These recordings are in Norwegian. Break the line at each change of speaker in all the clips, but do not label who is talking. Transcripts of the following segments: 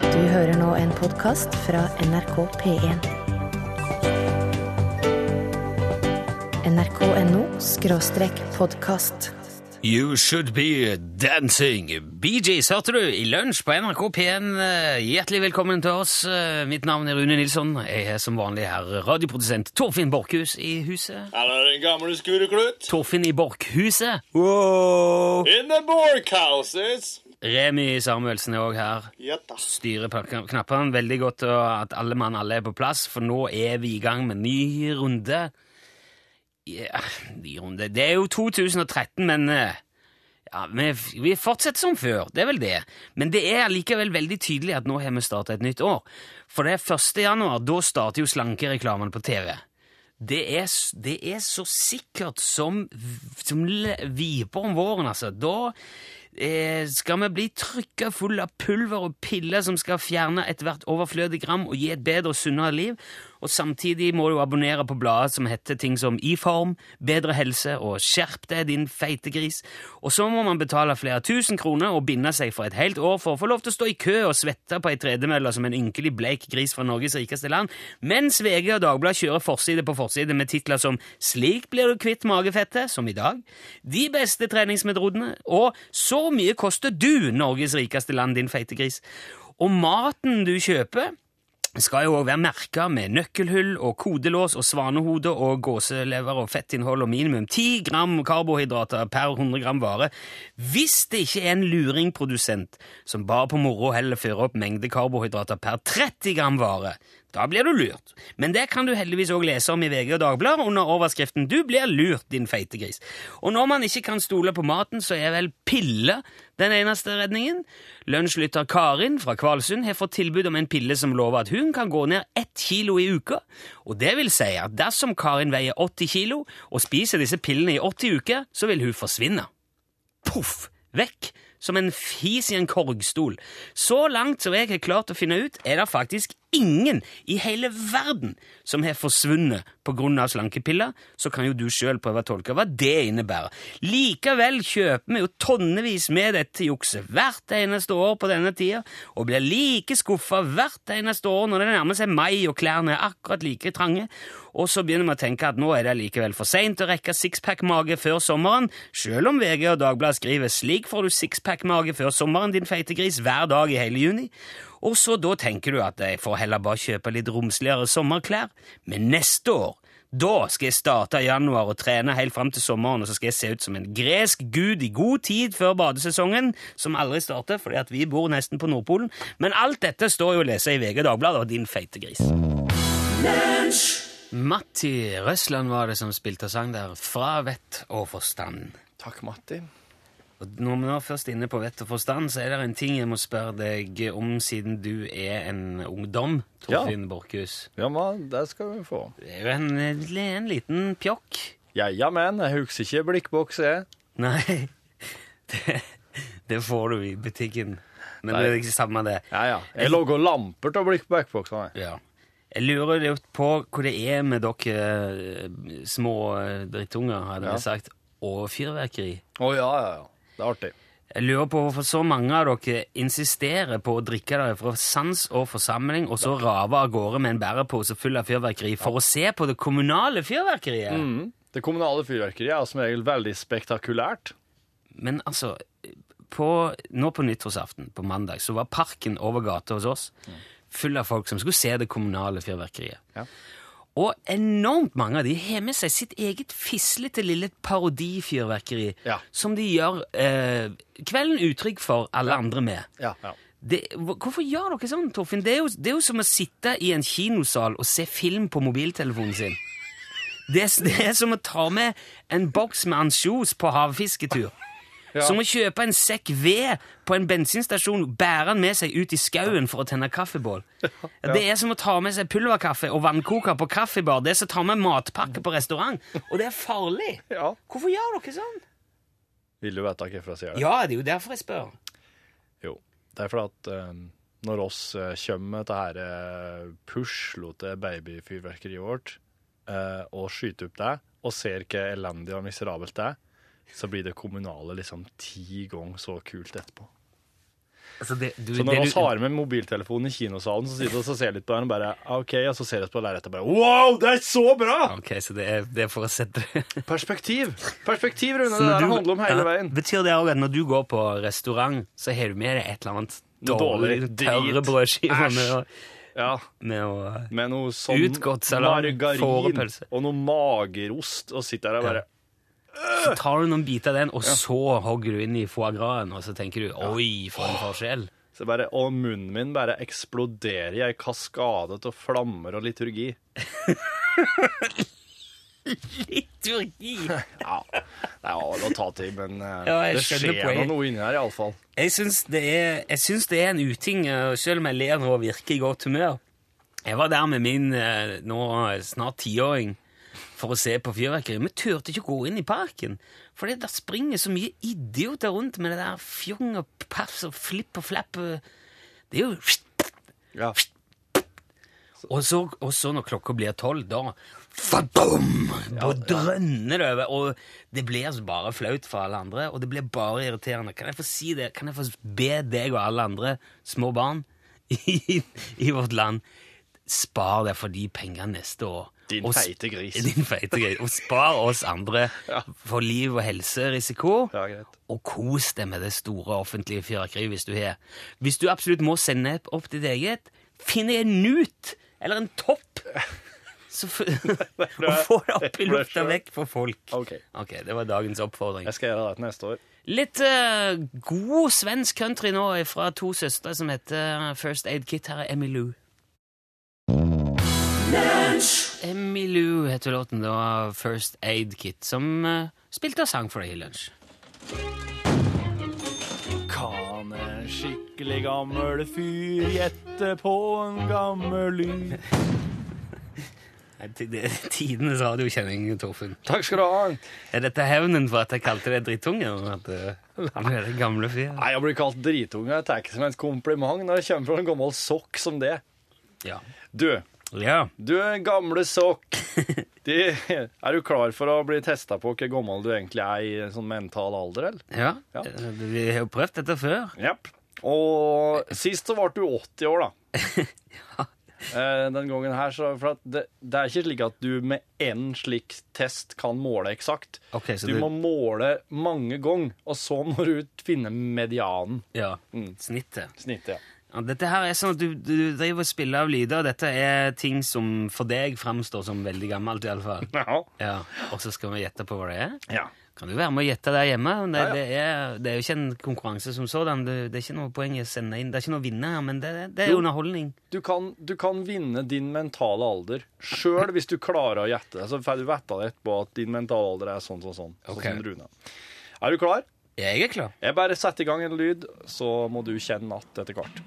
Du hører nå en podkast fra NRK P1. NRK.no skråstrek podkast.
You should be dancing. BJ, hørte du, i lunsj på NRK P1. Eh, Hjertelig velkommen til oss. Eh, Mitt navn er Rune Nilsson. Jeg er som vanlig her radioprodusent Torfinn Borkhus i huset.
Her er den gamle skureklut.
Torfinn i Borkhuset.
In the borkhouses.
Remi Samuelsen er òg her. Styrer på kn- knappene veldig godt, og at alle mann alle er på plass, for nå er vi i gang med ny runde. Ja, ny runde Det er jo 2013, men eh, ja, vi, f- vi fortsetter som før. Det er vel det. Men det er likevel veldig tydelig at nå har vi starta et nytt år. For det er 1. januar. Da starter jo slankereklamen på TV. Det er, s- det er så sikkert som, v- som le- viper om våren, altså. Da eh, skal vi bli trykka full av pulver og piller som skal fjerne ethvert overflødig gram og gi et bedre og sunnere liv. Og samtidig må du abonnere på bladet som heter ting som I form, Bedre helse og Skjerp deg, din feite gris. Og så må man betale flere tusen kroner og binde seg for et helt år for å få lov til å stå i kø og svette på ei tredemølle som en ynkelig bleik gris fra Norges rikeste land, mens VG og Dagbladet kjører forside på forside med titler som Slik blir du kvitt magefettet, som i dag, De beste treningsmetodene og Så mye koster du, Norges rikeste land, din feite gris. Og maten du kjøper skal jo òg være merka med nøkkelhull og kodelås og svanehode og gåselever og fettinnhold og minimum 10 gram karbohydrater per 100 gram vare. Hvis det ikke er en luringprodusent som bare på moro heller fører opp mengde karbohydrater per 30 gram vare, da blir du lurt. Men det kan du heldigvis òg lese om i VG og Dagbladet under overskriften 'Du blir lurt, din feite gris'. Og når man ikke kan stole på maten, så er vel pille den eneste redningen. Lunsjlytter Karin fra Kvalsund har fått tilbud om en pille som lover at hun kan gå ned ett kilo i uka. Og det vil si at dersom Karin veier 80 kilo og spiser disse pillene i 80 uker, så vil hun forsvinne poff, vekk, som en fis i en korgstol. Så langt som jeg har klart å finne ut, er det faktisk ingen i hele verden som har forsvunnet på grunn av slankepiller, så kan jo du sjøl prøve å tolke hva det innebærer. Likevel kjøper vi jo tonnevis med dette jukset hvert eneste år på denne tida, og blir like skuffa hvert eneste år når det nærmer seg mai og klærne er akkurat like trange, og så begynner vi å tenke at nå er det likevel for seint å rekke sixpack-mage før sommeren, sjøl om VG og Dagbladet skriver 'slik får du sixpack-mage før sommeren, din feite gris', hver dag i hele juni. Og så da tenker du at jeg får heller bare kjøpe litt romsligere sommerklær. Men neste år, da skal jeg starte i januar og trene helt fram til sommeren, og så skal jeg se ut som en gresk gud i god tid før badesesongen, som aldri starter, fordi at vi bor nesten på Nordpolen. Men alt dette står jo å lese i VG og Dagbladet, og din feite gris. Matti Røsland var det som spilte sang der, fra vett og forstand.
Takk, Matti.
Og når vi nå er først inne på vett og forstand, så er det en ting jeg må spørre deg om, siden du er en ungdom, Torfinn Borchhus.
Ja, men det skal vi få.
Det er jo en, en liten pjokk.
Ja, ja, men jeg husker ikke blikkboks, jeg.
Nei, det, det får du i butikken. Men
Nei.
det er ikke samme det.
Ja, ja. Jeg lager lamper til blikkboksene.
Ja. Jeg lurer litt på hva det er med dere eh, små eh, drittunger, hadde
Ja.
jeg sagt, og fyrverkeri.
Å ja, ja, ja. Det er artig.
Jeg lurer på hvorfor så mange av dere insisterer på å drikke dere fra sans og forsamling, og så rave av gårde med en bærepose full av fyrverkeri for å se på det kommunale fyrverkeriet.
Mhm. Det kommunale fyrverkeriet er som regel veldig spektakulært. Mm.
Men altså, på, nå på nyttårsaften, på mandag, så var parken over gata hos oss full av folk som skulle se det kommunale fyrverkeriet.
Ja.
Og enormt mange av de har med seg sitt eget fislete lille parodifyrverkeri,
Ja.
som de gjør eh, kvelden utrygg for alle andre med.
Ja. ja.
Det, hvor- hvorfor gjør dere sånn, Torfinn? Det er, jo, det er jo som å sitte i en kinosal og se film på mobiltelefonen sin. Det, er- det er som å ta med en boks med ansjos på havfisketur. Som å kjøpe en sekk ved på en bensinstasjon, bære den med seg ut i skauen for å tenne kaffebål. Det er som å ta med seg pulverkaffe og vannkoker på kaffebar. Det er som å ta med matpakke på restaurant. Og det er farlig.
Ja.
Hvorfor gjør dere sånn?
Vil du vite hvorfor jeg sier det?
Ja, det er jo derfor jeg spør.
Jo. Det er fordi at eh, når oss eh, kommer med dette her eh, puslete babyfyrverkeriet vårt, eh, og skyter opp det, og ser hvor elendig og miserabelt det er, så blir det kommunale liksom ti ganger så kult etterpå.
Altså, det, du,
Så
det
når vi
du-
har med mobiltelefonen i kinosalen, så sitter vi og ser litt på den, og bare "Ah, OK, og så ser vi på lerretet og bare Wow, det er så bra!
Ok, så det er, det er for å sette
Perspektiv! Perspektiv, Rune.
Så
Det
når
der
du-
handler om hele
Ja,
veien.
Betyr det òg at når du går på restaurant, så har du med deg et eller annet
Dårlig
dårlig,
drit.
tørre brødskiver
Æsj.
med, å-
Ja,
med å
Med noe sånn
Utgått salam,
margarin
fårepølse.
og noe magerost, og sitter der og bare
Så tar du noen biter av den, og så hogger du inn i foie grasen, og så tenker du 'oi, for en forskjell'.
Så bare, og munnen min bare eksploderer i ei kaskade av flammer og liturgi.
Liturgi!
Ja, det er all å ta til, men eh,
Ja, jeg
det
skjønner
skjer
poenget.
nå noe inni her iallfall.
Jeg syns det er, jeg syns det er en uting, eh, selv om jeg ler nå og virker i godt humør. Jeg var der med min eh, nå snart tiåring for å se på fyrverkeri. Vi turte ikke gå inn i parken, for det der springer så mye idioter rundt med det der fjong og paffs og flipp og flapp. eh, Det er jo
Ja.
Og
altså.
så, og så når klokka blir tolv, da fadum, Da drønner det over. Og det blir så bare flaut for alle andre, og det blir bare irriterende. Kan jeg få si det? Kan jeg få be deg og alle andre små barn i, i vårt land Spar deg for de pengene neste år.
Din
Og s-
feite gris.
Din feite gris. Og spar oss andre for liv og helserisiko
Ja, greit.
og kos deg med det store offentlige fyrverkeriet hvis du har. Hvis du absolutt må sende opp ditt eget, finn deg en nut eller en topp så f og få det opp i lufta vekk for folk.
Ok.
Ok, Det var dagens oppfordring.
Jeg skal gjøre det til neste år.
Litt eh, god svensk country nå fra to søstre som heter eh, First Aid Kit. Her er Emmylou. Emmylou heter låten da, First Aid Kit, som eh, spilte og sang for deg i lunsj.
Kan en skikkelig gammel fyr gjette på en gammel lyd?
Nei, ti- det- Tidenes radiokjenning, Torfinn.
Takk skal du ha.
Er dette hevnen for at jeg kalte deg drittunge? og At eh, du er den gamle fyr?
Nei, Jeg blir kalt dritunge. Jeg tar ikke som et kompliment når det kommer fra en gammel sokk som det.
Ja.
Du,
ja.
du gamle sokk. De, er du klar for å bli testa på hvor gammel du egentlig er i en sånn mental alder, eller?
ja.
Ja.
Eh, Vi har jo prøvd dette før.
Japp. Og sist så ble du 80 år, da. Eh, Den gangen her, så for at det, det er ikke slik at du med én slik test kan måle eksakt.
Ok, så
du
det-
må måle mange ganger, og så må du finne medianen.
Ja.
Mm.
Snittet.
Snittet, ja.
Ja, dette her er sånn at du, du driver og spiller av lyder, og dette er ting som for deg framstår som veldig gammelt, iallfall.
Ja.
Ja. Og så skal vi gjette på hva det er?
ja.
Kan du være med å gjette der hjemme? Det,
Ja, ja.
det, er, det er jo ikke en konkurranse som sådan. Det, det er ikke noe poeng i å sende inn. Det er ikke noe å vinne her, men det, det er
Jo.
underholdning.
Du kan, du kan vinne din mentale alder sjøl hvis du klarer å gjette det. Så får du vite det etterpå at din mentale alder er sånn, sånn, sånn.
Ok.
sånn som Rune. Er du klar?
Jeg er klar.
Jeg bare setter i gang en lyd, så må du kjenne att etter hvert.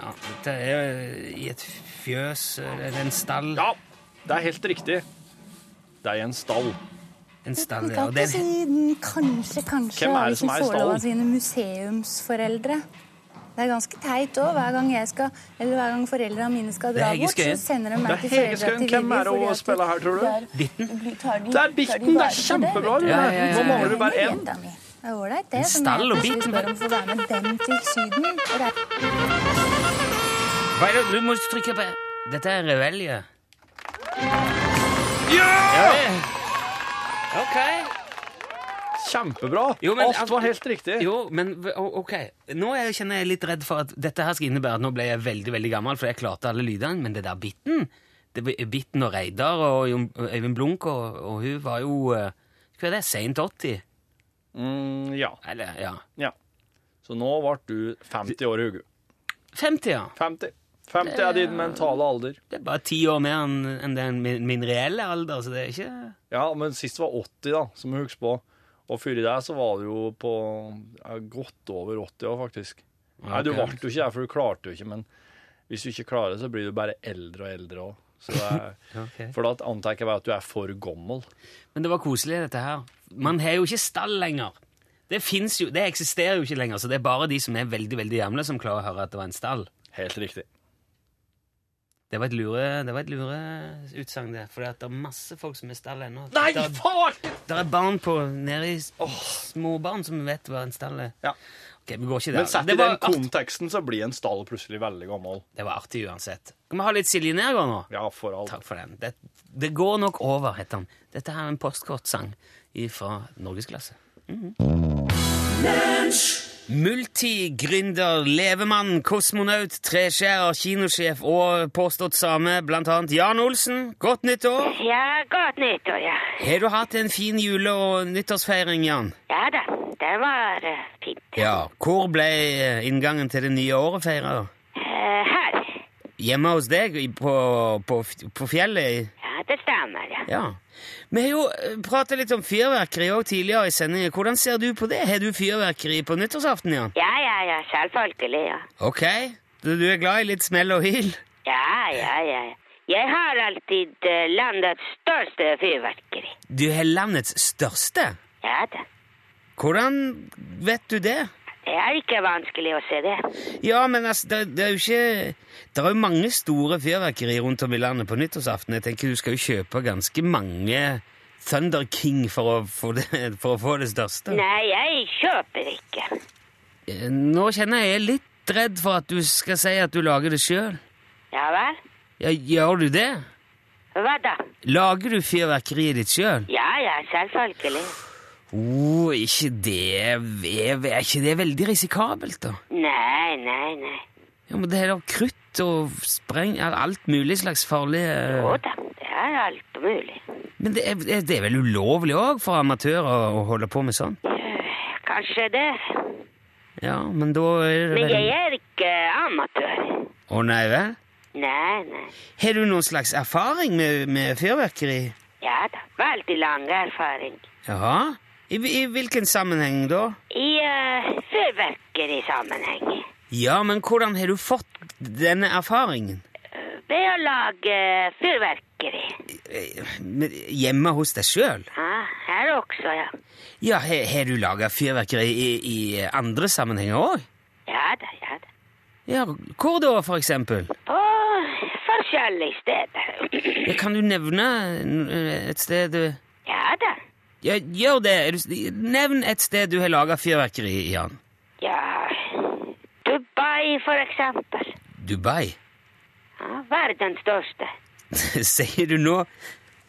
Ja, dette er eh, i et fjøs eh, eller en stall.
Ja, det er helt riktig. Det er i en stall.
En stall, ja.
Takk
Og
for
det er,
siden. Kanskje, kanskje
Hvem er
har
det som
ikke
er i stallen?
såla sine museumsforeldre. Det er ganske teit òg. Hver gang jeg skal, eller hver gang foreldrene mine skal
Det er
dra
Hege
bort, så
Skøyen.
sender
Det
de
er
meg til
Hege
foreldra
Skøyen.
til
Hvem er det hun spiller her, tror du?
Bitten?
Det
Det er Bitten! Det er kjempebra! Rune.
Ja, ja, ja, ja.
Nå mangler du bare én.
Det er ålreit, det.
En
som
stall og
jeg
Bitten.
Spør om å få være med dem til Syden. Og det er
Hva er det? Du må trykke på Dette er revelje.
Ja!
OK.
Kjempebra!
Jo, men- altså,
Alt var helt riktig.
Jo, men v- o- OK. Nå er jeg, kjenner jeg litt redd for at dette her skal innebære at nå ble jeg veldig veldig gammel, for jeg klarte alle lydene, men det der Bitten det, var- Bitten og Reidar og Jon- Øyvind Blunk og, og hun var jo eh, Hva er det? Seint 80?
Mm, ja.
Eller, ja.
ja. Så nå ble du 50 år i hodet.
50, ja.
50. 50 er din mentale alder.
Det er bare ti år mer enn enn det er min, min reelle alder, så det er ikke
Ja, men sist var 80, da, som jeg husker på. Og før i deg så var du jo på ja, godt over 80 år, faktisk. Nei, du
Ok.
ble jo ikke der, for du klarte jo ikke, men hvis du ikke klarer det, så blir du bare eldre og eldre òg. Så det er,
Ok.
For da antar jeg ikke bare at du er for gammel.
Men det var koselig, dette her. Man har jo ikke stall lenger. Det, finnes jo, det eksisterer jo ikke lenger, så det er bare de som er veldig veldig gamle, som klarer å høre at det var en stall.
Helt riktig.
Det var et lure, det var et lure utsagn, det. For det er masse folk som er stall ennå.
Nei,
Der-
faen!
Der er barn på nede i s- småbarn som vet hva en stall er.
Ja.
Ok, vi går ikke der.
Men satt i
det, var
den
art,
konteksten så blir en stall plutselig veldig gammel.
det var artig uansett. Kan vi ha litt Silje Nergård nå?
Ja, for alt.
Takk for den. Det, det går nok over, heter han. Dette her er en postkortsang fra norgesklasse. Mhm. Mm Multigründer, levemann, kosmonaut, treskjærer, kinosjef og påstått same, blant annet Jan Olsen. Godt nyttår!
Ja, godt nyttår, ja.
Har du hatt en fin jule- og nyttårsfeiring, Jan?
Ja da, det var eh, fint.
Ja. Hvor ble eh, inngangen til det nye året feira?
Eh, her.
Hjemme hos deg i- på, på, f- på fjellet? i-
Ja, det stemmer, ja.
Ja. Vi har jo prata litt om fyrverkeri òg tidligere i sendingen. Hvordan ser du på det? Har du fyrverkeri på nyttårsaften, Jan?
Ja, ja, ja, selvfølgelig, ja.
Ok, du, du er glad i litt smell og hyl?
Ja, ja, ja. Jeg har alltid eh, landets største fyrverkeri.
Du har landets største.
Ja da.
Hvordan vet du det?
Det er ikke vanskelig å se det.
Ja, men altså, det, det er jo ikke Det er jo mange store fyrverkeri rundt om i landet på nyttårsaften. Jeg tenker du skal jo kjøpe ganske mange Thunder King for å få det, for å få det største.
Nei, jeg kjøper ikke.
Eh, Nå kjenner jeg jeg er litt redd for at du skal si at du lager det sjøl.
Ja vel?
Ja, gjør du det?
Hva da?
Lager du fyrverkeriet ditt sjøl?
Ja, ja, selvfølgelig.
Oh, ikke det er, er ikke det veldig risikabelt, da?
Nei, nei, nei.
Ja, men Det er da krutt og spreng er alt mulig slags farlige
Jo da, det er alt mulig.
Men det er, det er vel ulovlig òg for amatører å, å holde på med sånn?
Kanskje det.
Ja, men da er det
Men
vel
jeg er ikke amatør.
Å nei vel?
Nei, nei.
Har du noen slags erfaring med, med fyrverkeri?
Ja da. Veldig lang erfaring.
Jaha? I, I hvilken sammenheng da?
I uh, fyrverkerisammenheng.
Ja, men hvordan har du fått denne erfaringen?
Ved å lage fyrverkeri.
Eh, men Hjemme hos deg sjøl?
Ja, her også, ja.
Ja, har har du laga fyrverkeri i, i andre sammenhenger òg?
Ja da, ja da.
Ja, hvor da, for eksempel?
På forskjellige steder.
Ja, kan du nevne eh, et sted du
ja da.
ja, Gjør det! Er du- Nevn et sted du har laga fyrverkeri, Jan.
Ja. Dubai, for eksempel.
Dubai.
Ja, verdens største.
Sier du nå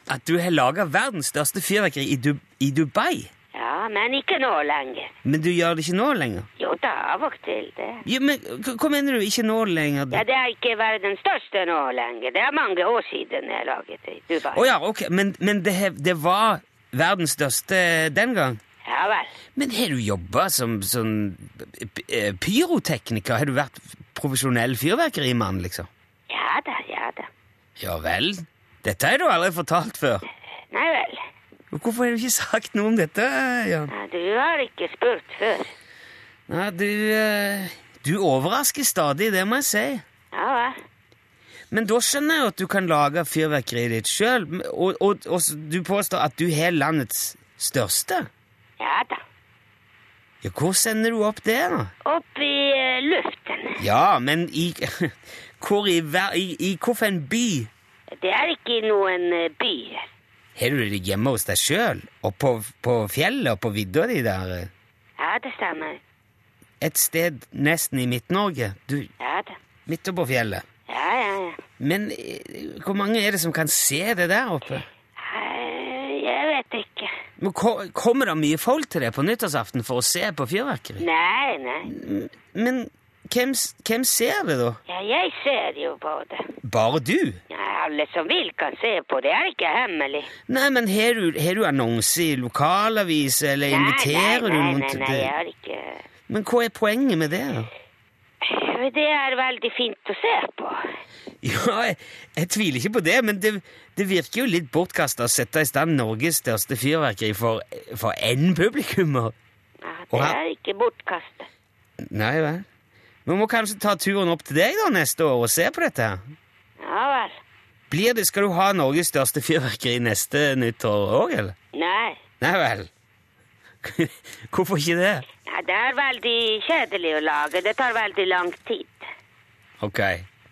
at du har laga verdens største fyrverkeri i, du i Dubai?
Ja, men ikke nå lenger.
Men du gjør det ikke nå lenger?
Jo da, av og til det.
Ja, men hva hva mener du? Ikke nå lenger?
Ja, det er ikke verdens største nå lenger. Det er mange år siden jeg laget det i Dubai.
Å ja, ok, men, men det, he- det var verdens største den gang?
Ja vel.
Men har du jobba som sånn eh, pyrotekniker? Har du vært profesjonell fyrverkerimann, liksom?
Ja da, ja da.
Ja vel? Dette har du aldri fortalt før.
Nei vel.
Hvorfor har du ikke sagt noe om dette, Jan?
Ja, Du har ikke spurt før.
Nei, du eh, Du overrasker stadig, det må jeg si.
Ja vel.
Men da skjønner jeg jo at du kan lage fyrverkeriet ditt sjøl, og, og, og s- du påstår at du har landets største?
Ja da.
Ja, hvor sender du opp det, da?
Opp i eh, luften.
Ja, men i Hvor i, ver- i, i hvilken by?
Det er ikke i noen eh, byer.
Har du det hjemme hos deg sjøl? Og på, på fjellet og på vidda di der?
Ja, det stemmer.
Et sted nesten i Midt-Norge? Du,
Ja da.
midt oppå fjellet.
Ja, ja, ja.
Men eh, hvor mange er det som kan se det der oppe?
Eh, Jeg vet ikke.
Men ko- Kommer det mye folk til det på nyttårsaften for å se på fyrverkeri?
Nei, nei.
Men hvem, s- hvem ser det, da?
Ja, jeg ser jo på det.
Bare du?
Ja, alle som vil kan se på det. Det er ikke hemmelig.
Nei, men har du, har du annonse i lokalavis, eller inviterer du
nei, nei,
noen
nei,
til
nei, jeg
det?
har ikke...
Men hva er poenget med det? da?
Men Det er veldig fint å se på.
Ja, jeg, jeg tviler ikke på det, men det, det virker jo litt bortkasta å sette i stand Norges største fyrverkeri for, for én publikummer.
Ja,
Og
det
her-
er ikke bortkastet.
Nei vel. Vi må kanskje ta turen opp til deg da neste år og se på dette. her.
Ja vel.
Blir det, Skal du ha Norges største fyrverkeri neste nyttår òg, eller?
Nei.
Nei vel. Hvorfor ikke det?
Ja, det er veldig kjedelig å lage. Det tar veldig lang tid.
Ok,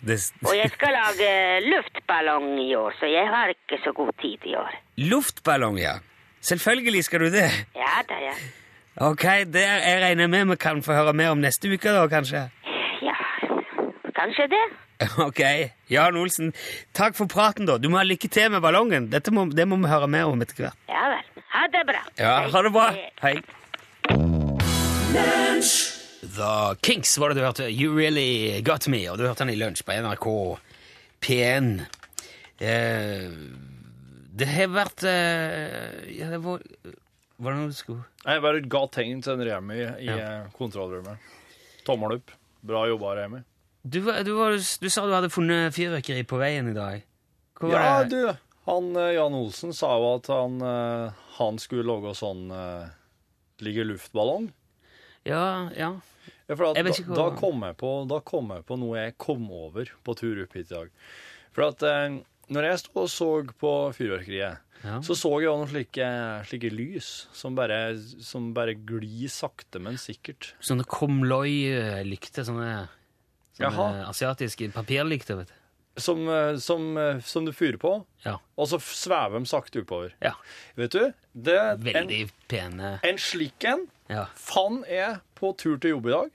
Det s-
Og jeg skal lage luftballong i år, så jeg har ikke så god tid i år.
Luftballong, ja. Selvfølgelig skal du det.
Ja da, ja.
Ok, det jeg regner med vi kan få høre mer om neste uke, da, kanskje.
Ja, kanskje det.
Ok. Jan Olsen, takk for praten, da. Du må ha lykke til med ballongen. Dette må, det må vi høre mer om etter hvert.
Ja vel. Ha det bra.
Ja, ha det bra.
Hei.
Hei. The Kinks var det du hørte. You Really Got Me. Og du hørte han i lunsj på NRK P1. Eh, det har vært eh, ja, det var, var det noe du skulle
Det var et godt tegn til en Remi i eh, kontrollrommet. Tommel opp. Bra jobba, Remi.
Du, var- du, var, du sa du hadde funnet fyrverkeri på veien i dag. Hvor var
Ja,
det?
du, han eh, Jan Olsen sa jo at han, eh, han skulle lage sånn eh, ligge luftballong.
Ja, ja.
Ja, for at,
Jeg vet ikke
da,
hvor-
da, kom jeg på, da kom jeg på noe jeg kom over på tur opp hit i dag. For at eh, når jeg stod og så på fyrverkeriet,
Ja.
så så jeg også noen slike, slike lys som bare, som bare glir sakte, men sikkert.
Sånne komloi-lykter. Sånne, sånne
Jaha.
asiatiske papirlykter, vet du.
Som, eh, som, eh, som du fyrer på,
Ja.
og så f- svever de sakte oppover.
ja.
Vet du, det, en,
Veldig pene.
en slik en
Ja.
Fann er på tur til jobb i dag.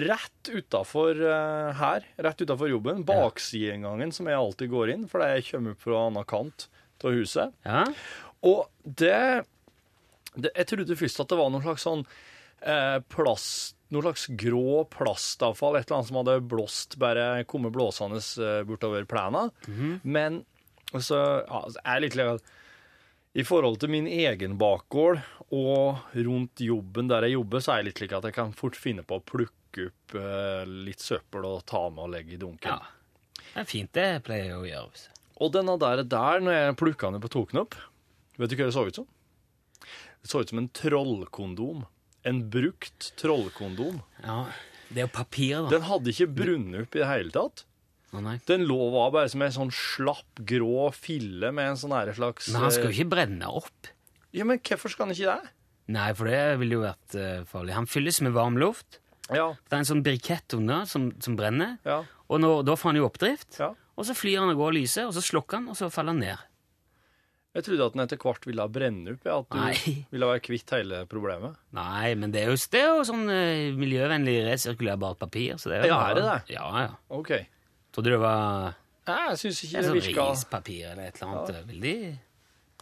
Rett utafor eh, her, rett utenfor jobben, baksidegangen som jeg alltid går inn, for jeg kommer opp fra annen kant av huset.
ja.
Og det, det Jeg trodde først at det var noe slags sånn eh, plast noe slags grå plastavfall, et eller annet som hadde blåst, bare kommet blåsende eh, bortover plena. Men så ja, altså, jeg er litt legal. I forhold til min egen bakgård og rundt jobben der jeg jobber, så er jeg litt slik at jeg kan fort finne på å plukke opp eh, litt søppel og ta med og legge i dunken.
ja. Det er fint, det pleier jeg å gjøre. vet du.
Og denne der, der når jeg plukka den på token opp, vet du hva det så ut som? Det så ut som en trollkondom. En brukt trollkondom.
Ja. Det er jo papir, da.
Den hadde ikke brunnet opp i det hele tatt.
Å, nei.
Den lå var bare som en sånn slapp, grå fille med en sånn her slags
Men han skal jo ikke brenne opp.
eh, Ja, men hvorfor skal han ikke det?
Nei, for det ville jo vært eh, farlig. Han fylles med varm luft.
Ja,
Det er en sånn brikett under som, som brenner.
ja,
Og når, da får han jo oppdrift.
ja.
Og så flyr han av gårde lyset, og så slukker han, og så faller han ned.
Jeg trodde at den etter hvert ville brenne opp, ja, at du
Nei.
ville være kvitt hele problemet.
Nei, men det er jo, det er jo sånn eh, miljøvennlig resirkulerbart papir. Så det er, jo
Ja, er det
bare-
det?
Ja, ja.
OK. Nei,
Trodde det var
Jeg syns ikke
det
det,
sånn
virka
rispapir eller et eller annet. Veldig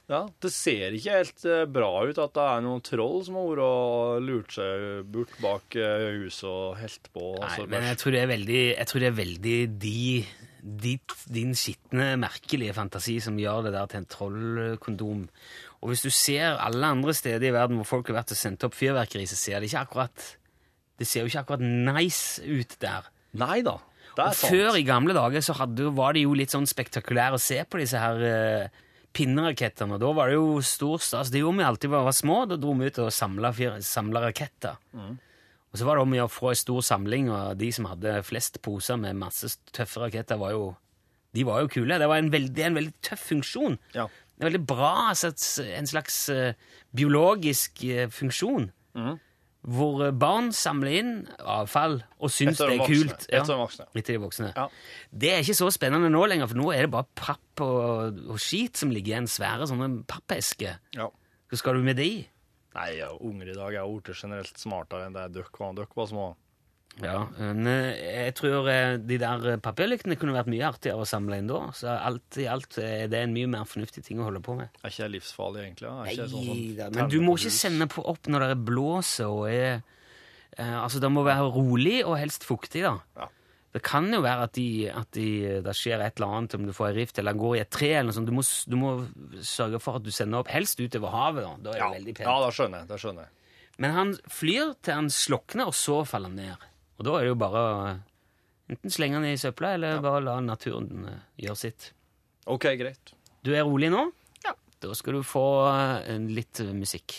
Ja, Det ser ikke helt eh, bra ut at det er noen troll som har vært og lurt seg bort bak eh, huset og helt på.
Nei,
altså,
men jeg
bare-
tror det er veldig, jeg tror det er veldig de, ditt, din skitne, merkelige fantasi som gjør det der til en trollkondom. Og hvis du ser alle andre steder i verden hvor folk har vært og sendt opp fyrverkeri, så ser det ikke akkurat det ser jo ikke akkurat nice ut der.
Nei da. Det
Og
er sant.
før i gamle dager så hadde, var det jo litt sånn spektakulært å se på disse her eh, pinnerakettene. Da var det jo stor stas. Det gjorde vi alltid da vi var små. Da dro vi ut og samla, fyr- samla raketter.
Mm.
Og så var det om å gjøre å få ei stor samling, og de som hadde flest poser med masse tøffe raketter, var jo, de var jo kule. Det var en veldig, en veldig tøff funksjon.
Ja.
Det er veldig bra, altså, et- en slags eh, biologisk eh, funksjon.
Mhm.
Hvor eh, barn samler inn avfall og syns det
Etter de
er
voksne.
kult. Ja.
Etter de voksne.
Etter de voksne.
Ja.
Det er ikke så spennende nå lenger, for nå er det bare papp og, og skit som ligger i en svære sånne pappesker.
Ja.
Hva skal du med de?
Nei, ja, unger i dag er blitt generelt smartere enn det dere var. Dere var små.
Ja, men eh, jeg tror eh, de der eh, papirlyktene kunne vært mye artigere å samle inn da. Så alt i alt er det en mye mer fornuftig ting å holde på med.
Er ikke det livsfarlig, egentlig? da? Er
Nei,
ikke det sånn
da,
som
men du må ikke
tennepapirhus?
sende på opp når det er blåser og er eh, Altså, det må være rolig og helst fuktig, da.
Ja.
Det kan jo være at, de, at de, det skjer et eller annet, om du får ei rift eller går i et tre. eller noe sånt. Du må, s- du må sørge for at du sender opp, helst utover havet. da. Da er det
Ja,
veldig pent.
ja da skjønner jeg. Da skjønner jeg.
Men han flyr til han slokner, og så faller han ned. Og da er det jo bare å enten slenge han i søpla, eller bare la naturen eh, gjøre sitt.
OK, greit.
Du er rolig nå? Ja. Da skal du få eh, en litt eh, musikk.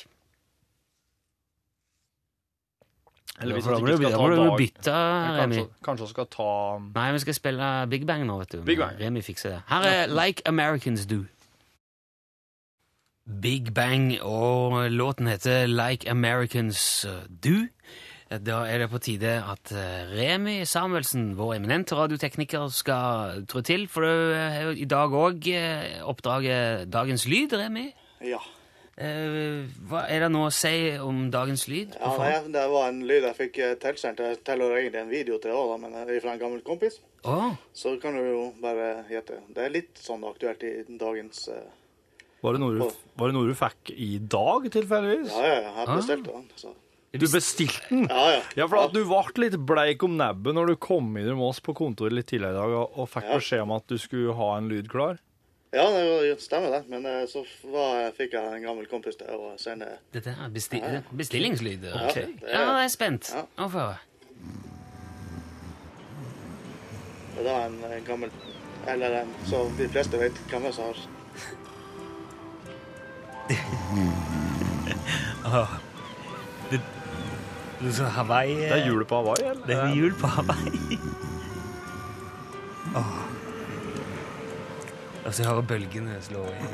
Eller hvis
da
at
må du
du ikke
da
skal
må
ta
du
dag-
bytte, Remi.
Kanskje, kanskje skal ta
Nei, vi skal spille Big Bang nå, vet du.
Big Bang.
Remi fikser det. Her er Like Americans Do. Big Bang, og låten heter Like Americans eh, Do. Da er det på tide at eh, Remi Samuelsen, vår eminente radiotekniker, skal trå til. For du eh, har jo i dag òg oppdraget Dagens Lyd, Remi.
Ja.
Eh, Hva er det nå å si om Dagens Lyd?
ja nei, jeg- det var en lyd jeg fikk eh, tilsendt. Jeg tilhører egentlig en video til det også, da, men det er fra en gammel kompis.
Å,
Så kan du jo bare gjette. Det er litt sånn aktuelt i dagens eh,
Var det noe du, var det noe du fikk i dag, tilfeldigvis?
Ja, ja, ja. Jeg bestilte
Ah.
den. Så.
Du bestilte den?
Ja, ja.
Ja, for at du ble litt bleik om nebbet når du kom inn med oss på kontoret litt tidligere i dag og- og fikk
Ja.
beskjed om at du skulle ha en lyd klar.
Ja, det var- det stemmer det. Men eh, så var, fikk jeg en gammel kompis til å sende
dette er besti bestillingslyd. eh,
Ok.
Ja, jeg er spent.
Ja.
Nå får jeg høre.
Det var en, en gammel Eller en så de fleste vet hvem som har
Hawaii
Eh. Det er jul på Hawaii, eller?
Det er jul på Hawaii. Åh. Og så hører bølgene slå i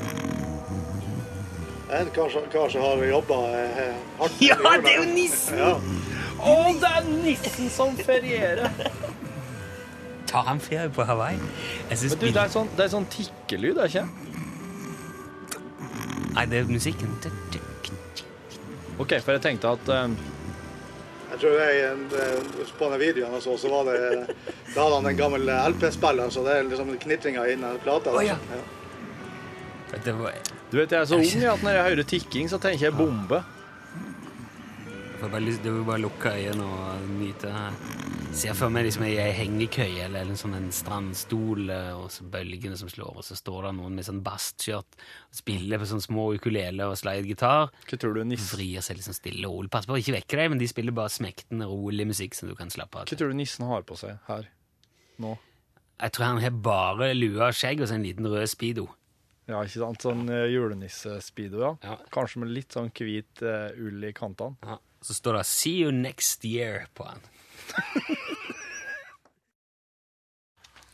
Det er en kar som- kar som har jobba eh, hardt.
Ja, det er jo nissen!
Ja.
Å, det er nissen som ferierer!
Tar han ferie på Hawaii? Jeg synes
Men du, det er sånn, det er sånn tikkelyd, er det ikke?
Nei, det er musikken.
OK, for jeg tenkte at eh,
Jeg tror jeg eh, på den videoen jeg så, så var det Da hadde han en gammel LP-spiller, så det er liksom knitringa i den plata.
Å, ja.
Ja.
Det var,
Du vet, jeg er så ung at når jeg hører tikking, så tenker jeg bombe.
jeg får bare, lyst- du vil bare lukke øynene og nyte Ser for meg liksom ei ei hengekøye eller en sånn en strandstol, eh, og så bølgene som slår, og så står det noen med sånn bastskjørt og spiller på sånne små ukulele og slidegitar.
Hva tror du nissen,
Vrir seg liksom stille og rolig. Pass på å ikke vekke deg, men de spiller bare smektende, rolig musikk som du kan slappe av
hva
til.
tror du nissen har på seg her nå?
Jeg tror han har bare lue og skjegg og så en liten rød speedo.
Ja, ikke sant? Sånn eh, julenisse-speedo, ja.
Ja.
Kanskje med litt sånn hvit eh, ull i kantene.
Ja. Så står det 'See you next year' på han.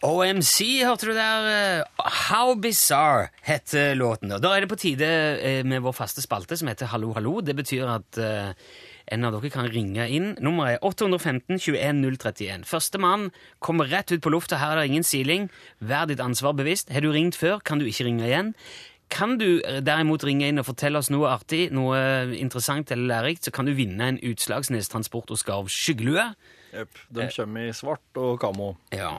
OMC, hørte du der? eh, How Bizarre heter låten. Og da er det på tide eh, med vår faste spalte som heter Hallo, hallo. Det betyr at eh, en av dere kan ringe inn. Nummeret er 815 21 031. Førstemann kommer rett ut på lufta. Her er det ingen siling. Vær ditt ansvar bevisst. Har du ringt før, kan du ikke ringe igjen. Kan du eh, derimot ringe inn og fortelle oss noe artig, noe interessant eller lærerikt, så kan du vinne en Utslagsnes Transport og Skarv skyggelue.
Jepp. De kommer i svart og kamo.
Ja.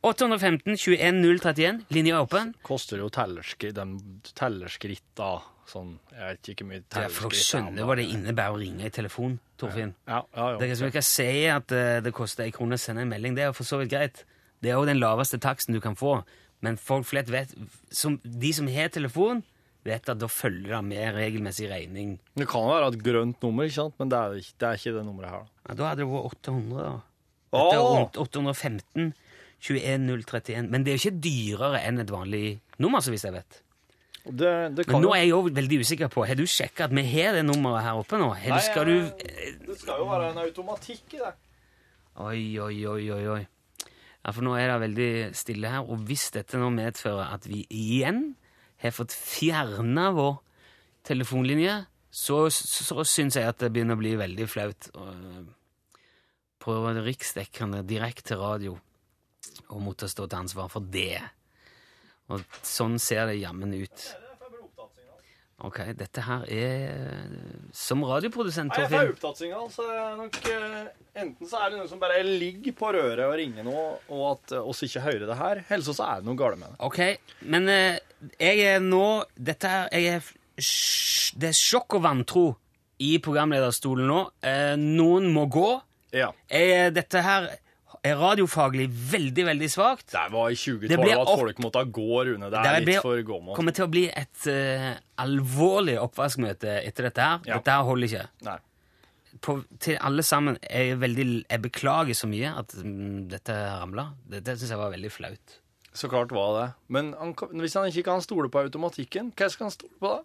815 21 031. Linja er åpen.
Koster jo tellerskri, de tellerskritta sånn Jeg vet ikke hvor mye
Ja, for dere
tellerskritt
skjønner hva det innebærer å ringe i telefon, Torfinn.
Ja, ja, ja.
Dere som ikke sier at eh, det koster ei krone å sende en melding, det er jo for så vidt greit. Det er jo den laveste taksten du kan få. Men folk flest vet, som, de som har telefon, vet at da følger det med regelmessig regning.
Det kan jo være et grønt nummer, ikke sant? men det er ikke det, er ikke det nummeret her. da.
Ja, da hadde det vært 800, da.
Åh!
Dette er rundt 815 21 031. Men det er jo ikke dyrere enn et vanlig nummer, så vidt jeg vet.
Det, det
Men
kan
nå
jo,
er jeg jo veldig usikker på, har du sjekket at vi har det nummeret her oppe nå? Eller skal du...
det skal jo være en automatikk i det.
Oi, oi, oi, oi, oi. Ja, for nå er det veldig stille her, og hvis dette nå medfører at vi igjen har fått fjernet vår telefonlinje, så, så synes jeg at det begynner å bli veldig flaut øh, på riksdekkende direkte radio å måtte stå til ansvar for det. Og sånn ser det jammen ut. Ok, dette her er øh, som radioprodusent,
Nei, jeg får
Torfinn.
opptattsignal, så altså. det er nok eh, enten så er det noen som bare ligger på røret og ringer nå, og at eh, oss ikke hører det her, eller så er det noe galt med det.
Ok, men eh, jeg er nå Dette er, jeg er sj- Det er sjokk og vantro i programlederstolen nå. Eh, noen må gå.
Ja.
Eh, dette her er radiofaglig veldig, veldig svakt.
Det var i
Det
2012
ble
at
opp-
folk måtte gå, Rune. Det
Det
er
her
litt
blir-
for gammelt.
kommer til å bli et eh, alvorlig oppvaskmøte etter dette her.
Ja.
Dette her holder ikke.
Nei.
På, til alle sammen, jeg, er veldig, jeg beklager så mye at mm, dette ramla. Dette syns jeg var veldig flaut.
Så klart var det. Men han, kan- hvis han ikke kan stole på automatikken, hva skal han stole på da?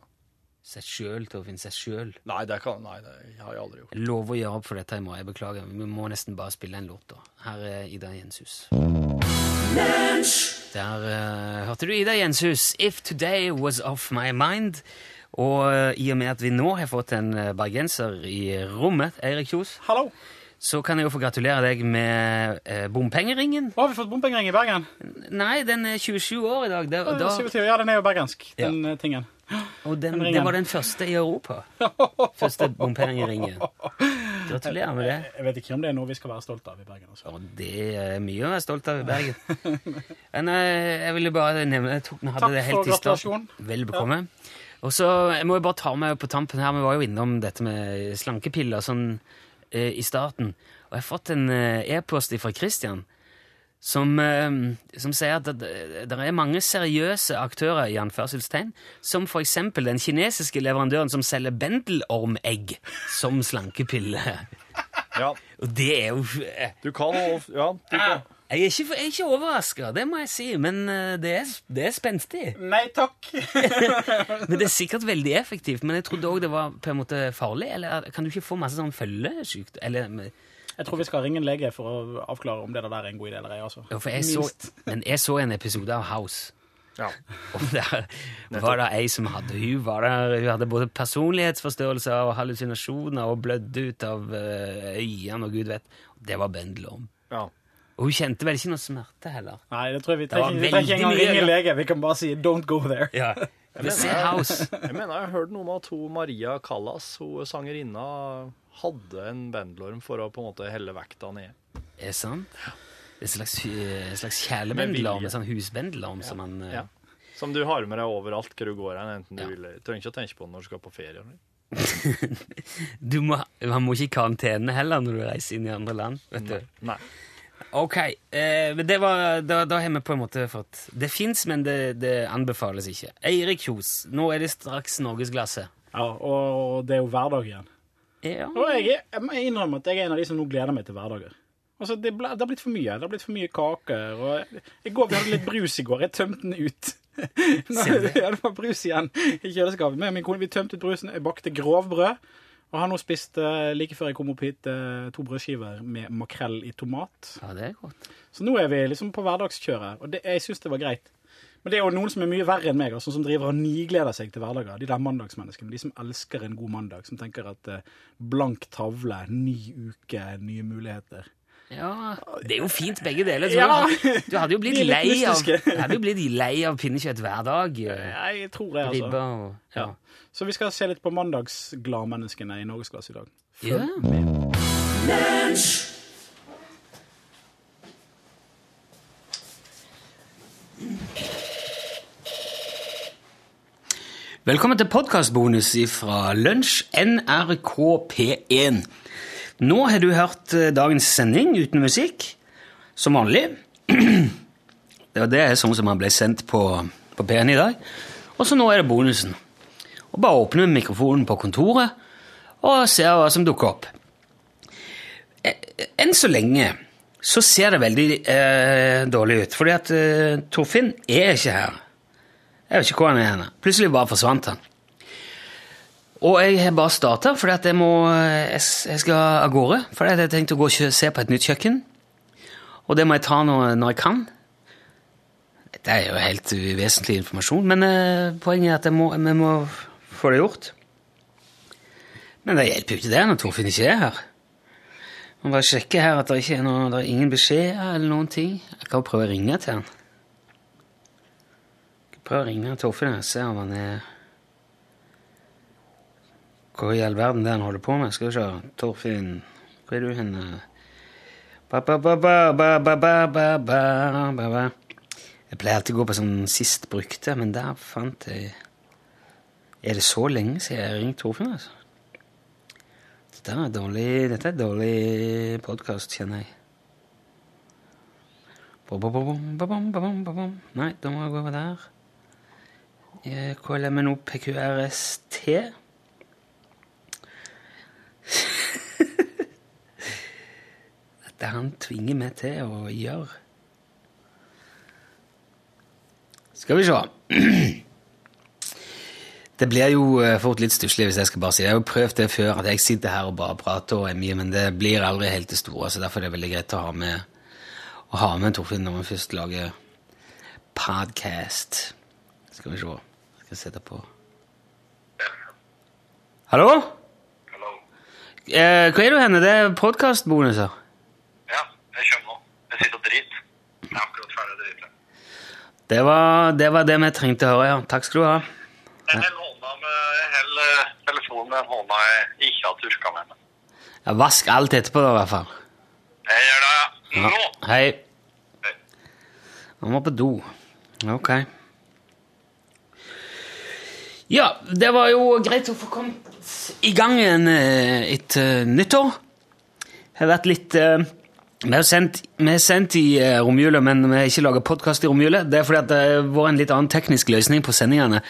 Seg sjøl, Torfinn. Seg sjøl.
Nei, det, kan, nei, det har jeg aldri gjort.
Jeg lover å gjøre opp for dette i morgen. Jeg beklager. Vi må nesten bare spille en låt, da. Her er Ida Jenshus. Der eh, hørte du Ida Jenshus. If today was off my mind. Og eh, i og med at vi nå har fått en eh, bergenser i rommet, Eirik Kjos,
Hallo!
så kan jeg jo få gratulere deg med eh, bompengeringen.
Å, har vi fått bompengering i Bergen?
Nei, den er 27 år i dag. Det, og
Da.
da,
27, ja, den er jo bergensk, den eh, tingen.
og den,
ringen.
det var den første i Europa. Første bompengeringen. Gratulerer med det.
Jeg vet ikke om det er noe vi skal være stolt av i Bergen. Altså.
Og det er mye å være stolt av i Bergen. Men eh, jeg ville bare nevne jeg tok, vi hadde
Takk
det helt
for
i starten.
gratulasjonen.
Vel bekomme. Og så jeg må jo bare ta med på tampen her, vi var jo innom dette med slankepiller sånn eh, i starten. Og jeg har fått en eh, e-post fra Christian som, eh, som sier at det, det er mange seriøse aktører i anførselstegn, som for eksempel den kinesiske leverandøren som selger bendelormegg som slankepille.
Ja,
Og det er jo eh,
du kan og- Ja, du kan.
jeg er ikke, jeg er ikke overraska, det må jeg si, men eh, det er, det er spenstig.
Nei takk!
Men Det er sikkert veldig effektivt, men jeg trodde òg det var på en måte farlig. Eller kan du ikke få masse sånn følgesjukt? Eller, men-
Jeg tror vi skal ringe en lege for å avklare om det der er en god idé eller ei. Altså.
ja, for jeg så,
Minst.
men jeg så en episode av House.
Ja.
Og der var det ei som hadde Hun, var der, hun hadde både personlighetsforstørrelser og hallusinasjoner og blødde ut av eh, øynene og gud vet. Det var Bendelorm.
ja.
Og hun kjente vel ikke noe smerte heller.
Nei, det tror jeg vi
var
trenger, vi trenger ikke engang
veldig mye,
ringe
ja.
lege. Vi kan bare si 'don't go there'.
Ja. Men se House.
Jeg mener jeg har hørt noe om at hun Maria Callas, hun sangerinna, hadde en bandlorm for å på en måte helle vekta ned.
Er det sant? En slags, en slags
Med vilje.
kjælebendelarm, en sånn husbendelarm som man eh,
Ja. Som du har med deg overalt hvor du går hen, enten du
Ja.
vil. Trenger ikke å tenke på den når du skal på ferie. eller?
du må, Man må ikke i karantene heller når du reiser inn i andre land. vet du.
Nei.
Ok, eh, men det var, da, da har vi på en måte fått Det fins, men det, det anbefales ikke. Eirik Kjos, nå er det straks Norgesglasset.
Ja, og det er jo hverdag igjen.
Ja.
Og jeg, er- jeg må innrømme at jeg er en av de som nå gleder meg til hverdager. Altså, det, ble, det har blitt for mye. Det har blitt for mye kaker. Og jeg, i går, vi hadde litt brus i går. Jeg tømte den ut. Nå, ja, det var brus igjen i kjøleskapet. Men min kone, vi tømte ut brusen. Jeg bakte grovbrød. Og har nå spist, eh, like før jeg kom opp hit, eh, to brødskiver med makrell i tomat.
ja, det er godt.
Så nå er vi liksom på hverdagskjøret, og det, jeg syns det var greit. Men det er jo noen som er mye verre enn meg, altså, som driver og nigleder seg til hverdager. De der mandagsmenneskene, de som elsker en god mandag, som tenker at eh, blank tavle, ny uke, nye muligheter.
Ja, Det er jo fint, begge deler. tror
Ja.
jeg. Du hadde jo blitt
Vi er litt
lei av,
mystiske.
du hadde jo blitt lei av pinnekjøtt hver dag. eh,
Jeg tror det, altså.
Ribba og ja.
Så vi skal se litt på mandagsgladmenneskene i Norgesklasse i dag.
Ja. Velkommen til podkastbonus fra Lunsj, NRK P1. Nå har du hørt eh, dagens sending uten musikk, som vanlig. Det var det er sånn som han ble sendt på, på P1 i dag. Og så nå er det bonusen. Og bare åpner mikrofonen på kontoret og ser hva som dukker opp. Eh, Enn så lenge så ser det veldig eh, dårlig ut, fordi at eh, Torfinn er ikke her. Jeg vet ikke hvor han er henne. Plutselig bare forsvant han. Og jeg har bare starta, fordi at jeg, må, eh, jeg, s- jeg skal av gårde. For jeg har tenkt å gå og kjø- se på et nytt kjøkken. Og det må jeg ta når, når jeg kan. Dette er jo helt uvesentlig informasjon, men eh, poenget er at jeg må, vi må få det gjort. Men det hjelper jo ikke det når Torfinn ikke er her. Må bare sjekke her at det ikke er, noe, det er ingen beskjeder eller noen ting. Jeg kan jo prøve å ringe til han. Jeg kan prøve å ringe Torfinn og se om han er Hva i all verden det er han holder på med? Skal vi se. Torfinn, hvor er du hen? Ba, ba, ba, ba, ba, ba, ba, ba, ba, ba, ba. Jeg pleier alltid å gå på sånn sist brukte, men der fant jeg Er det så lenge siden jeg har ringt Torfinn, altså? Dette er dårlig, dette er dårlig podkast, kjenner jeg. Ba, ba, ba, bom, ba, bom, ba, bom, ba, bom. Nei, da må jeg gå over der. Eh, KLMNO PQRST. Dette han tvinger meg til å gjøre. Skal vi se. Det blir jo eh, fort litt stusslig hvis jeg skal bare si det. Jeg har jo prøvd det før, at jeg sitter her og bare prater og er mye, men det blir aldri helt det store, så derfor er det veldig greit å ha med, å ha med Torfinn når man først lager podcast. Skal vi se. Skal jeg sette på. Hallo? Eh, hvor er du henne? Det er podkastbonuser.
Ja, jeg kommer nå. Jeg sitter og driter. Jeg er akkurat ferdig å drite.
Det var, det var det vi trengte å høre, ja. Takk skal du ha.
Jeg holder hånda med, jeg holder eh, telefonen med hånda jeg ikke har turka med meg.
Ja, vask alt etterpå, da, i hvert fall.
Jeg gjør det, ja. Nå!
Hei. Han var på do. Ok. Ja, det var jo greit å få kommet i gang igjen eh, etter nyttår. Det har vært litt eh, Vi har sendt, vi har sendt i eh, romjula, men vi har ikke laga podkast i romjula. Det er fordi at det har vært en litt annen teknisk løsning på sendingene.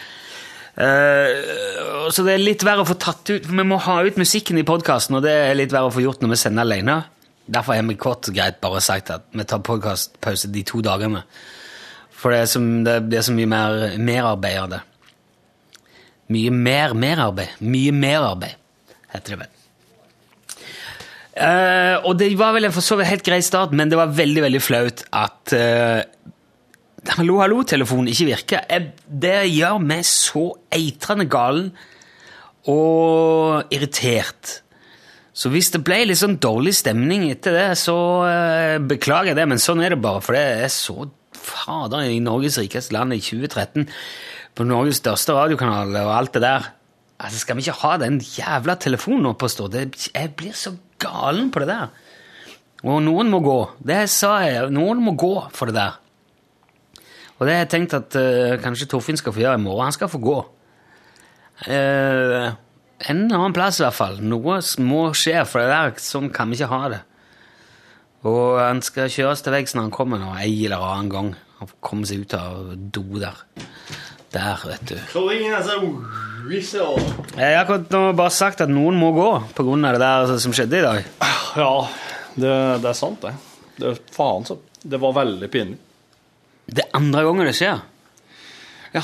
Eh, så det er litt verre å få tatt ut for Vi må ha ut musikken i podkasten, og det er litt verre å få gjort når vi sender alene. Derfor har vi kort og greit bare sagt at vi tar podkastpause de to dagene. For det er, som, det blir så mye mer merarbeid av det. Mye mer merarbeid. Mye merarbeid, heter det vel. Eh, og det var vel en for så vidt helt grei start, men det var veldig, veldig flaut at eh, Hallo, hallo-telefonen ikke virker. Jeg, det gjør meg så eitrende galen og irritert. Så hvis det ble litt sånn dårlig stemning etter det, så eh, beklager jeg det, men sånn er det bare, for det er så fader i Norges rikeste land i 2013, på Norges største radiokanal og alt det der. Altså, skal vi ikke ha den jævla telefonen oppe og stå? Det, jeg blir så galen på det der. Og noen må gå. Det sa jeg. Noen må gå for det der. Og det har jeg tenkt at eh, kanskje Torfinn skal få gjøre i morgen. Han skal få gå. Eh, en eller annen plass i hvert fall. Noe s- må skje, for det der sånn kan vi ikke ha det. Og han skal kjøres til veggs når han kommer nå, ei eller annen gang. Han får komme seg ut av do der. Der, vet du. Jeg har akkurat nå bare sagt at noen må gå på grunn av det der altså, som skjedde i dag.
Ja, det, det er sant, det. det. er Faen, så. Det var veldig pinlig.
Det er andre gangen det skjer.
Ja.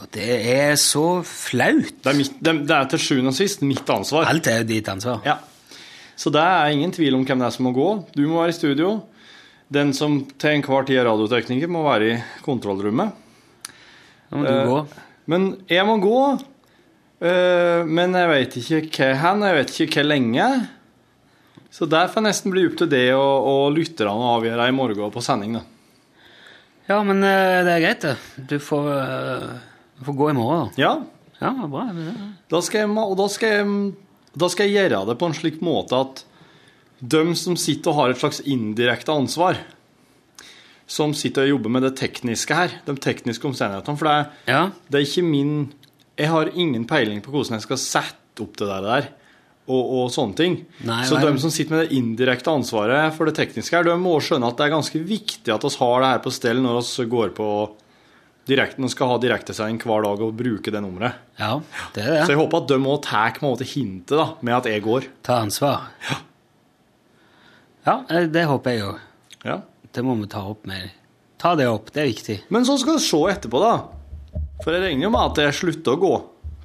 Og det er så flaut.
Det er, mitt, det, det er til sjuende og sist mitt ansvar.
Alt er jo ditt ansvar.
Ja. Så det er ingen tvil om hvem det er som må gå. Du må være i studio. Den som til enhver tid er radiotekniker, må være i kontrollrommet.
Nå må du
Eh,
gå.
Men jeg må gå. Eh, men jeg vet ikke hva hen, jeg vet ikke hvor lenge. Så der får jeg nesten bli opp til det og, og lytterne å avgjøre i morgen på sending, da.
Ja, men eh, det er greit, det. Du får, eh, du får gå i morgen. da.
Ja,
Ja, bra. det er det.
da skal jeg, ma- og da skal jeg, da skal jeg gjøre det på en slik måte at de som sitter og har et slags indirekte ansvar, som sitter og jobber med det tekniske her, de tekniske omstendighetene, for det er
Ja.
Det er ikke min Jeg har ingen peiling på hvordan jeg skal sette opp det der, der og, og sånne ting.
Nei,
så
nei.
de som sitter med det indirekte ansvaret for det tekniske her, de må skjønne at det er ganske viktig at vi har det her på stell når vi går på direkten og skal ha direktesending hver dag og bruke det nummeret.
ja, det er det.
Så jeg håper at de òg tar på en måte hintet da, med at jeg går.
Ta ansvar. Ja. eh, det håper jeg òg.
Ja.
Det må vi ta opp med Ta det opp, det er viktig.
Men så skal vi se etterpå, da. For jeg regner jo med at jeg slutter å gå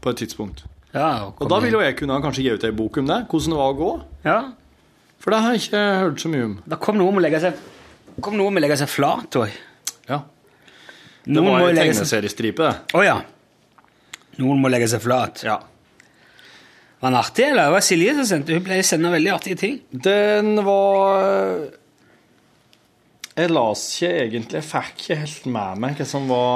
på et tidspunkt.
Ja,
Og da vil jo jeg kunne kanskje gi ut ei bok om det, hvordan det var å gå.
ja.
For det har jeg ikke hørt så mye om.
Da kom noe med å legge seg kom noe med å legge seg flat òg.
Ja. Det
Noen
var
må
en
legge seg
tegneseriestripe, det.
Å ja. Noen må legge seg flat.
Ja.
Var den artig, eller? Det var Silje som sendte Hun pleier å sende veldig artige ting.
Den var Jeg las ikke egentlig Jeg fikk ikke helt med meg hva som var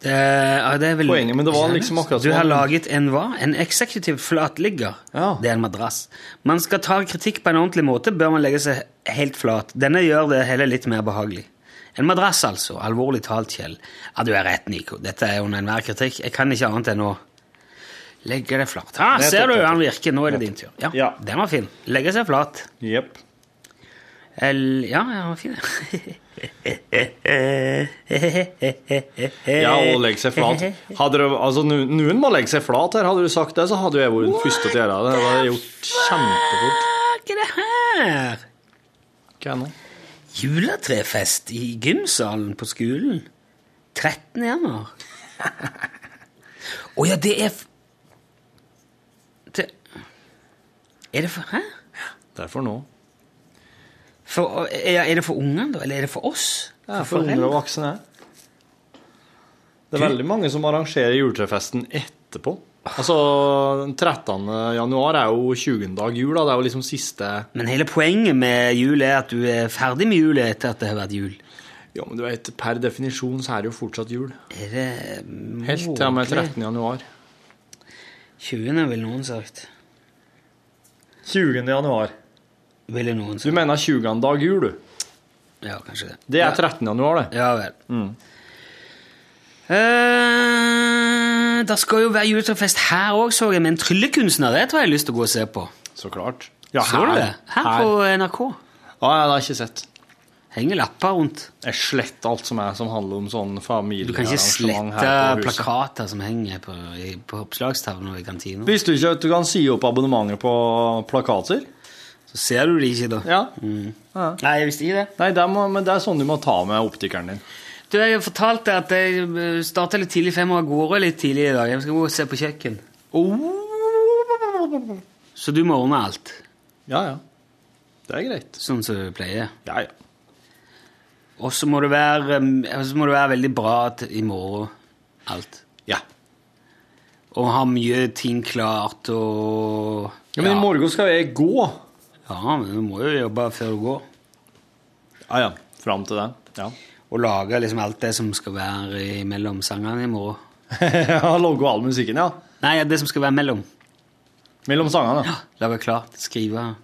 Det, ja, det er vel,
Poenget, men det var liksom akkurat
Du
som
har
om-
laget en hva? En eksekutiv flatligger.
Ja.
Det er en madrass. Man skal ta kritikk på en ordentlig måte, bør man legge seg helt flat. Denne gjør det hele litt mer behagelig. En madrass, altså. Alvorlig talt, Kjell. Ja, du er rett, Nico. Dette er under enhver kritikk. Jeg kan ikke annet enn å legge det flat. Ha,
Nettopp,
ser du,
nettopp.
han virker. Nå er det din tur. Ja,
Ja.
den var fin. Legge seg flat.
Jepp.
El, ja, ja, den var fin.
Ja, og legge seg flat. Hadde du, altså, nu- Noen må legge seg flat her. Hadde du sagt det, så hadde jo jeg vært den første til å gjøre det. Det hadde jeg gjort kjempefort.
Hva er det her?
Hva er det nå?
Juletrefest i gymsalen på skolen. 13. januar. Å ja, det er f... Det... Er det for Hæ?
Det er for nå.
For, er, er det for ungene, da? Eller er det for oss?
Det er for unger og voksne. Det er veldig mange som arrangerer juletrefesten etterpå. Altså, den 13. januar er jo 20. dag jul, da. Det er jo liksom siste
Men hele poenget med jul er at du er ferdig med jul etter at det har vært jul.
Ja, men du vet, per definisjon så er det jo fortsatt jul.
Er det
Helt til og med 13. januar.
20. ville noen sagt.
20. januar.
Ville noen
Du
sagt.
mener 20. dag jul, du.
Ja, kanskje det.
Det er 13. januar, det.
Ja vel. Eh, det skal jo være juletrefest her òg, så jeg, med en tryllekunstner. Det tror jeg jeg har lyst til å gå og se på.
Så klart. Ja,
Så du det? Her på NRK.
Ja, ja, det har jeg ikke sett.
Henger lapper rundt.
Jeg sletter alt som er som handler om sånn
Du kan ikke
familiearrangement
slette
her på huset.
plakater som henger på, i- på oppslagstavlen og i kantina.
Visste du ikke at du kan si opp abonnementer på plakater?
Så ser du de ikke, da. Mm.
Ja.
Nei, jeg visste ikke det.
Nei, det må, men det er sånn du må ta med optikeren din.
Du, Jeg fortalte at jeg starta litt tidlig, for jeg må av gårde litt tidlig i dag. Jeg skal gå og se på kjøkken.
Oh.
Så du må ordne alt,
Ja, ja. Det er greit.
sånn som du pleier.
Ja, ja.
Og så må det være, um, så må det være veldig bra til i morgen, alt.
Ja.
Og ha mye ting klart og
men i morgen skal jeg gå.
Ja, men du må jo jobbe før du går.
Ja, ja. Fram til det. Ja.
Og lage liksom alt det som skal være i- mellom sangene i morgen.
ja Logge all musikken, ja.
Nei, det som skal være mellom.
Mellom sangene. Ja.
Lage klart, skrive,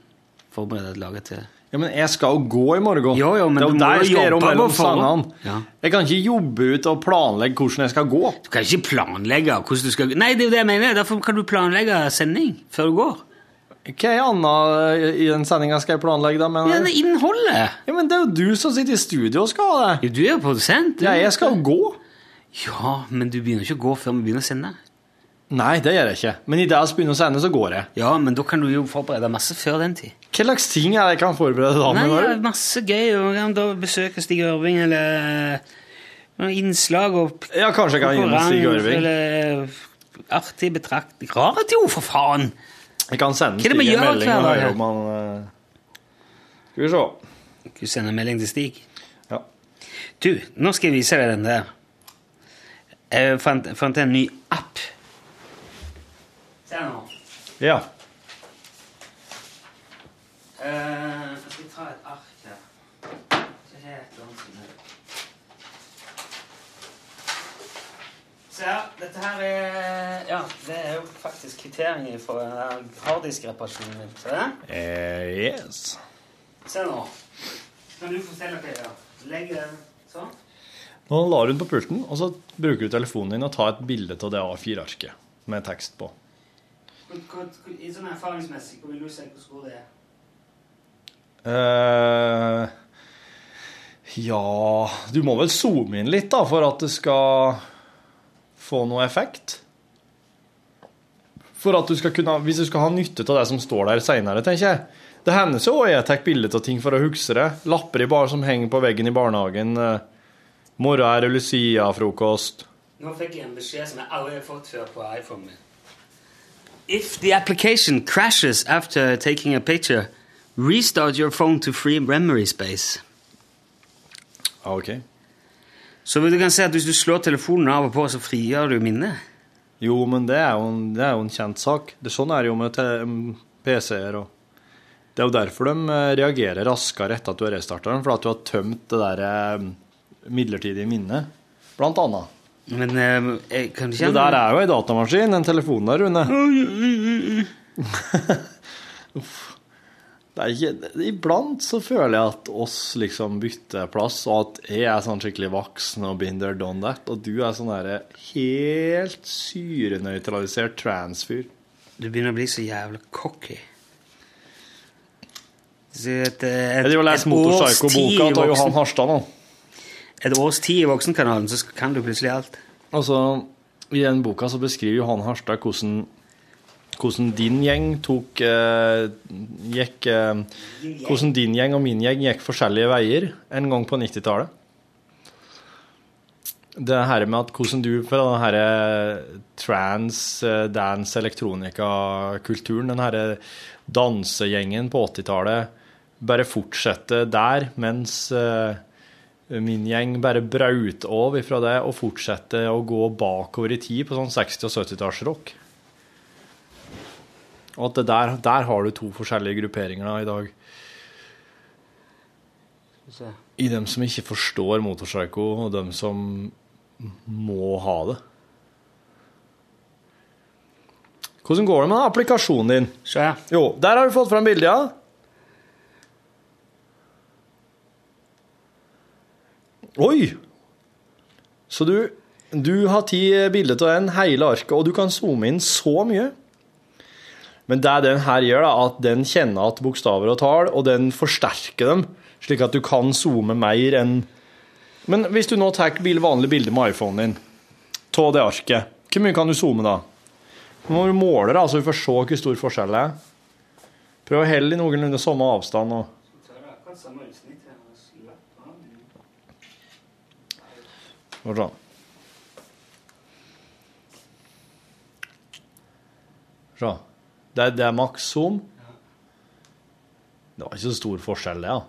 forberede, lage til
Ja, men jeg skal jo gå i morgen.
Jo, jo, men
det er
du må
der jeg
jo
skal gjøre om
jobbe
mellom
på forhånd.
sangene.
Ja.
Jeg kan ikke jobbe ut og planlegge hvordan jeg skal gå.
Du kan ikke planlegge hvordan du skal Nei, det er jo det jeg mener. Derfor kan du planlegge sending før du går.
Hva annet i den sendinga skal jeg planlegge, da?
Ja,
Men,
det er innholdet.
ja, men det er jo du som sitter i studio og skal ha det.
Jo, du er jo produsent. du.
Ja, jeg skal jo gå.
Ja, men du begynner ikke å gå før vi begynner å sende.
Nei, det gjør jeg ikke. Men i det vi begynner å sende, så går jeg.
Ja, men da kan du jo forberede masse før den tid.
Hva slags ting er det jeg kan forberede da?
Nei,
med
ja,
Norge?
masse gøy. Og kan da besøke Stig Ørving, eller noen innslag og
Ja, kanskje jeg kan gi den Stig Ørving.
Eller eh, artig betrakt... Rare jo, for faen!
Jeg kan sende
Hva er det
Stig
vi
en
gjør
melding og
hver dag, ja?
høre om han eh, Skal vi se.
Du sender melding til Stig.
Ja.
Du, nå skal jeg vise deg den der. Jeg fant, fant en ny app. Se her nå.
ja.
Eh, jeg skal ta et ark her. Så det er et eller annet som er- Se her, dette her er Ja, det er jo faktisk kvitteringen for den der harddisk-reparasjonen min. Se,
Eh, yes.
Se nå. Kan du fortelle hva jeg gjør? Legg den sånn.
Nå lar du den på pulten, og så bruker du telefonen din og tar et bilde av det A4-arket med tekst på.
Hvor- hvor- hvor- i Sånn erfaringsmessig, hvor vil du se hvor stor det er?
eh ja Du må vel zoome inn litt, da, for at det skal få noe effekt? For at du skal kunne, Hvis du skal ha nytte av det som står der seinere, tenker jeg. Det hender så også jeg tar bilder av ting for å huske det. Lapper i bar som henger på veggen i barnehagen. eh, Morgen er det Lucia-frokost.
Nå fikk jeg en beskjed som jeg aldri har fått før på iPhone min. If the application crashes after taking a picture, restart your phone to free memory space.
Ja, OK.
Så du kan se at hvis du slår telefonen av og på, så frigjør du minnet.
Jo, men det er jo en, det er jo en kjent sak. Det, sånn er det jo med te- m, PC-er. og Det er jo derfor de eh, reagerer raskere etter at du har restarta den, fordi at du har tømt det der eh, midlertidige minnet, blant annet.
Men eh, jeg kan du
Det
kjenne
der er jo ei datamaskin, en telefon der, Rune. Uff. Det er ikke, det- iblant så føler jeg at oss liksom bytter plass, og at jeg er sånn skikkelig voksen og been there, done that, og du er sånn derre helt syrenøytralisert transfyr.
Du begynner å bli så jævla cocky. Så Et, eh, et,
Jeg driver og leser
et års tid
Motorpsycho-boka
i
til
voksen-
Johan Harstad nå.
Et års tid i Voksenkanalen, så kan du plutselig alt.
Altså, I den boka så beskriver Johan Harstad hvordan, hvordan din gjeng tok eh, gikk, eh, Hvordan din gjeng og min gjeng gikk forskjellige veier en gang på 90-tallet. Det her med at hvordan du fra den her trans, eh, dance, elektronika-kulturen, den her eh, dansegjengen på 80-tallet, bare fortsetter der, mens eh, min gjeng bare braut av ifra det og fortsette å gå bakover i tid på sånn 60- og 70-tallsrock. Og at det der, der har du to forskjellige grupperinger da, i dag. I dem som ikke forstår motorpsycho, og dem som må ha det. Hvordan går det med den applikasjonen din?
Se.
Jo, der har du fått fram bildet, ja. Oi! Så du, du har ti bilder av en hele arket, og du kan zoome inn så mye. Men det den her gjør, da, at den kjenner at bokstaver og tall, og den forsterker dem, slik at du kan zoome mer enn Men hvis du nå tar bil- vanlige bilder med iPhonen din av det arket, hvor mye kan du zoome da? Nå må du måle, da, så Altså, vi får se hvor stor forskjell det er. Prøv å holde i noenlunde samme avstand. nå. Og sånn. Så. Det, er- det er maks zoom. Det var ikke så stor forskjell, det. Ja.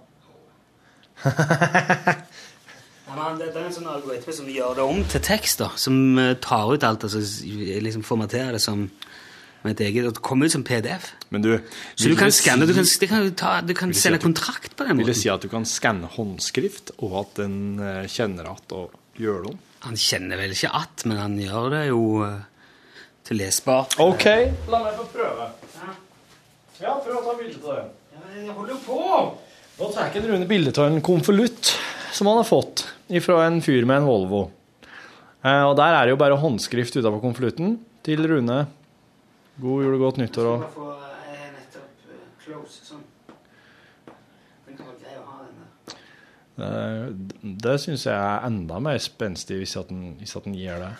det, er en sånn algoritme som gjør det om til tekst, da. Som eh, tar ut alt, altså s- liksom formaterer det som med et eget, og det kommer ut som PDF.
Men du,
Så du kan skanne, du kan, det kan, du ta, du kan
si
sende
at du-
kontrakt på den
Vil det
måten.
si at du kan skanne håndskrift, og at den eh, kjenner at og gjør det om?
Han kjenner vel ikke at, men han gjør det jo eh, til lesbart.
OK.
La meg få prøve.
Ja, prøv å ta bilde av det.
Jeg holder på!
Nå tar jeg en runde bilde av en konvolutt som han har fått fra en fyr med en Volvo. Eh, og Der er det jo bare håndskrift utenpå konvolutten til Rune. God jul og godt nyttår. Og. Det, Eh, det syns jeg er enda mer spenstig hvis at den, hvis at den gir det.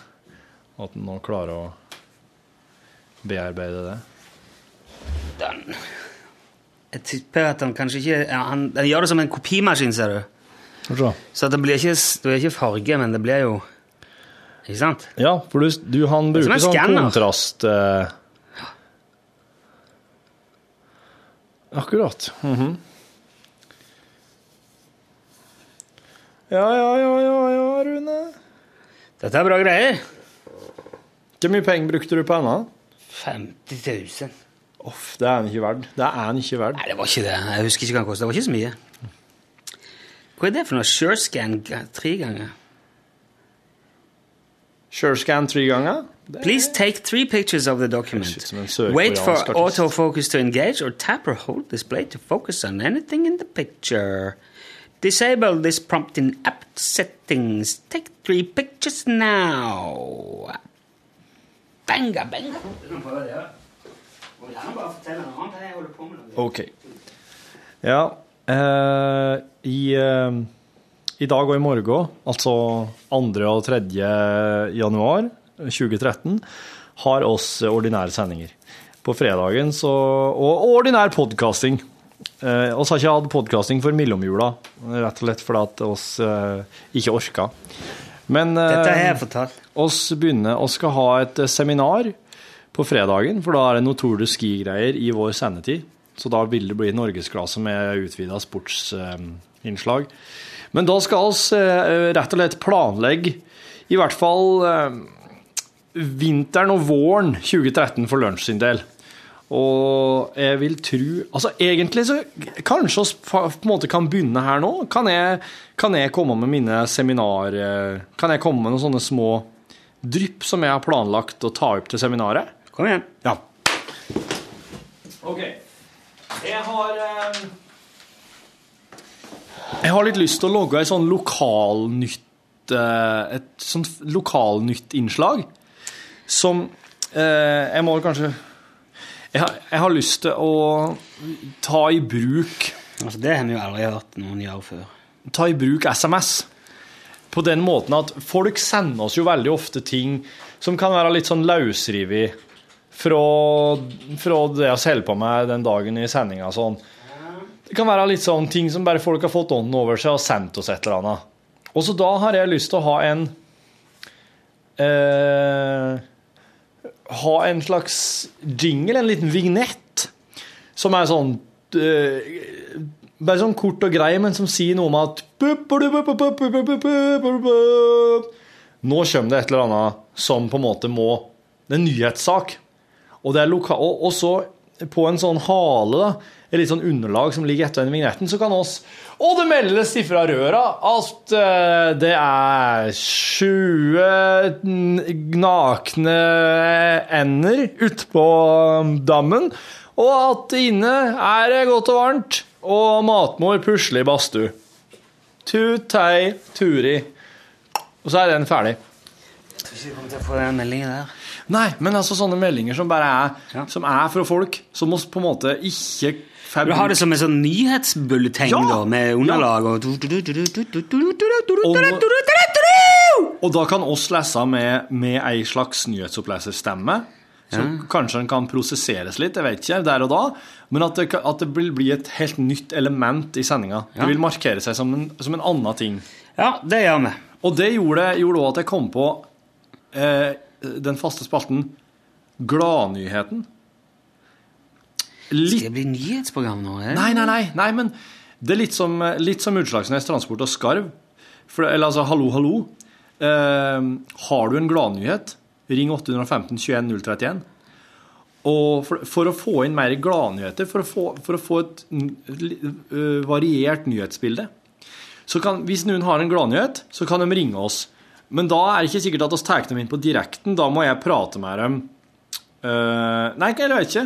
At den nå klarer å bearbeide det.
Jeg tipper at han kanskje ikke ja, han, han gjør det som en kopimaskin, ser du.
Skal vi se.
Så at det blir ikke, det blir ikke farge, men det blir jo Ikke sant?
Ja, for du, du han
Det er som
bruker
en
sånn
skanner.
kontrast eh. Akkurat. mhm. Ja, ja, ja, ja, ja, Rune.
Dette er bra greier.
Hvor mye penger brukte du på henne?
50 000.
Uff, det er han ikke verd. Det er han ikke verd.
Nei, det var ikke det. Jeg husker ikke hva det kostet. Det var ikke så mye. Hva er det for noe? Surescan ga- tre ganger?
Surescan tre ganger?
Please take three pictures of the
er- Shit,
document.
som en sørkoreansk
Wait for
artist.
autofocus to engage or tap or hold display to focus on anything in the picture. Disable this prompt in app settings. Take three pictures now. Banga, banga.
OK. Ja, eh, i, eh, i dag og i morgen, altså 2. og 3. januar 2013, har oss ordinære sendinger. På fredagen så Og og ordinær podkasting. Eh, oss har ikke hatt podkasting for mellomjula, rett og slett fordi at oss eh, ikke orka. Men eh,
Dette har jeg fortalt.
oss begynner å skal ha et eh, seminar på fredagen, for da er det noe Tour de Ski-greier i vår sendetid. Så da vil det bli norgesklasse med utvida sportsinnslag. Men da skal oss eh, rett og slett planlegge i hvert fall eh, vinteren og våren 2013 for lunsj sin del. Og jeg vil tro Altså, egentlig så Kanskje oss fa- på en måte kan begynne her nå? Kan jeg, kan jeg komme med mine seminar... eh, Kan jeg komme med noen sånne små drypp som jeg har planlagt å ta opp til seminaret?
Kom igjen.
Ja. OK. Jeg har eh, Jeg har litt lyst til å logge ei sånn lokalnytt eh, Et sånt lokalnyttinnslag som eh, Jeg må kanskje jeg har, jeg har lyst til å ta i bruk
Altså, det har vi jo aldri hørt noen gjøre før.
ta i bruk SMS. På den måten at folk sender oss jo veldig ofte ting som kan være litt sånn løsrivet fra, fra det vi holder på med den dagen i sendinga. Sånn. Det kan være litt sånn ting som bare folk har fått ånden over seg og sendt oss et eller annet. Og så da har jeg lyst til å ha en eh, Ha en slags jingle, en liten vignett, som er sånn eh, bare sånn kort og grei, men som sier noe om at Nå kommer det et eller annet som på en måte må Det er en nyhetssak. Og, det er loka og, og så på en sånn hale, da, et litt sånn underlag som ligger etter den vignetten, så kan oss Og det meldes ifra røra at eh, det er 20 n- nakne ender utpå dammen, og at inne er det godt og varmt, og matmor pusler i badstue. Tut, tei, turi. Og så er den ferdig.
Kommer til å få den meldingen der.
Nei, men altså sånne meldinger som bare er,
Ja.
som er fra folk, som oss på en måte ikke får
Du har det
brukt.
som en sånn nyhetsbulleteng,
Ja!
da, med underlag og
Og da kan oss lese med, med ei slags nyhetsoppleserstemme, som kanskje den kan prosesseres litt, jeg vet ikke, der og da, men at det, ka- at det vil bli et helt nytt element i sendinga.
Ja.
Det vil markere seg som en, som en annen ting.
Ja, det gjør vi.
Og det gjorde, gjorde også at jeg kom på eh, den faste spalten Gladnyheten. Litt
Skal det bli nyhetsprogram nå? er det?
Nei, nei, nei, nei men det er litt som, litt som Utslagsnes Transport og Skarv. For, eller altså, hallo, hallo. Eh, har du en gladnyhet, ring 815 21 031. Og for, for å få inn mer gladnyheter, for, å få- for å få et n- li- eh, variert nyhetsbilde så kan, Hvis noen har en gladnyhet, så kan de ringe oss. Men da er det ikke sikkert at vi tar dem inn på direkten. Da må jeg prate med dem Eh, nei, jeg vet ikke.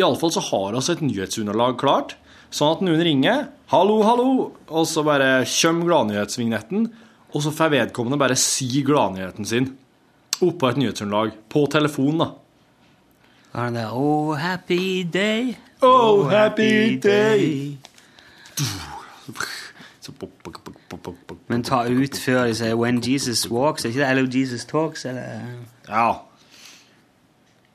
Iallfall så har vi et nyhetsunderlag klart. Sånn at noen ringer 'hallo, hallo', og så bare kommer gladnyhetsvignetten. Og så får vedkommende bare si gladnyheten sin oppå et nyhetsunderlag. På telefon, da.
Var det der Oh, happy day.
Oh, happy day. Så pop, pop, pop, pop, pop, pop.
Men ta ut før de sier When Jesus walks. Er ikke det Hello Jesus talks? Eller
Ja.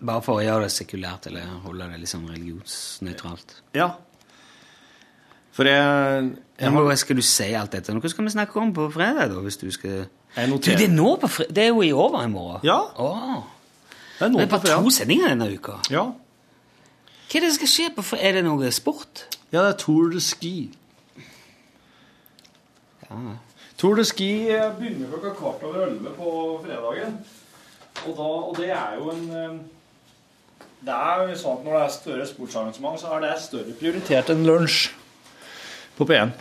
bare for å gjøre det sekulært, eller holde det liksom religionsnøytralt.
ja. For jeg, jeg,
Men
har-
hva skal du si alt dette? Noe skal vi snakke om på fredag, da, hvis du skal Du,
jeg
det er
noterer.
nå på fredag? Det er jo i overmorgen.
Ja.
Åh.
Det er noe
Det er
på
bare to
fredag.
sendinger denne uka.
Ja.
Hva er det som skal skje på fre- Er det noe sport?
Ja, det er Tour de Ski. Tour de Ski eh, begynner klokka kvart over elleve på fredagen. Og, da, og det er jo en eh, Det er jo sånn at når det er større sportsarrangement, så er det større prioritert enn lunsj på P1.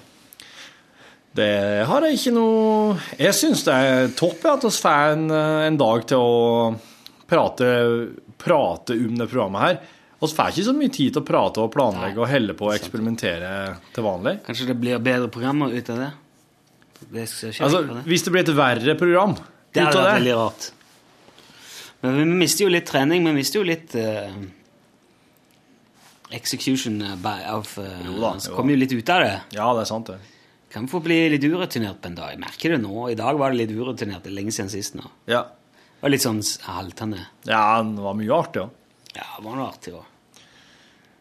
Det har jeg ikke noe Jeg syns det er topp ja, at vi får en, eh, en dag til å prate, prate om det programmet her. Vi får ikke så mye tid til å prate og planlegge og helle på og eksperimentere til vanlig.
Kanskje det blir bedre programmer ut av det? Det skal skje
Altså, Hvis det blir et verre program ut
Det
av
hadde vært
det
veldig rart. Men vi mister jo litt trening, vi mister jo litt eh, Execution by, av eh,
Jo da,
Så
jo
kommer jo litt ut av det.
Ja, det er sant, det.
Kan få bli litt urutinert på en dag. Jeg merker det nå. I dag var det litt urutinert. Det er lenge siden sist nå.
Ja,
Og litt sånn s- haltende.
ja det var mye artig, ja.
Ja, det var noe artig òg.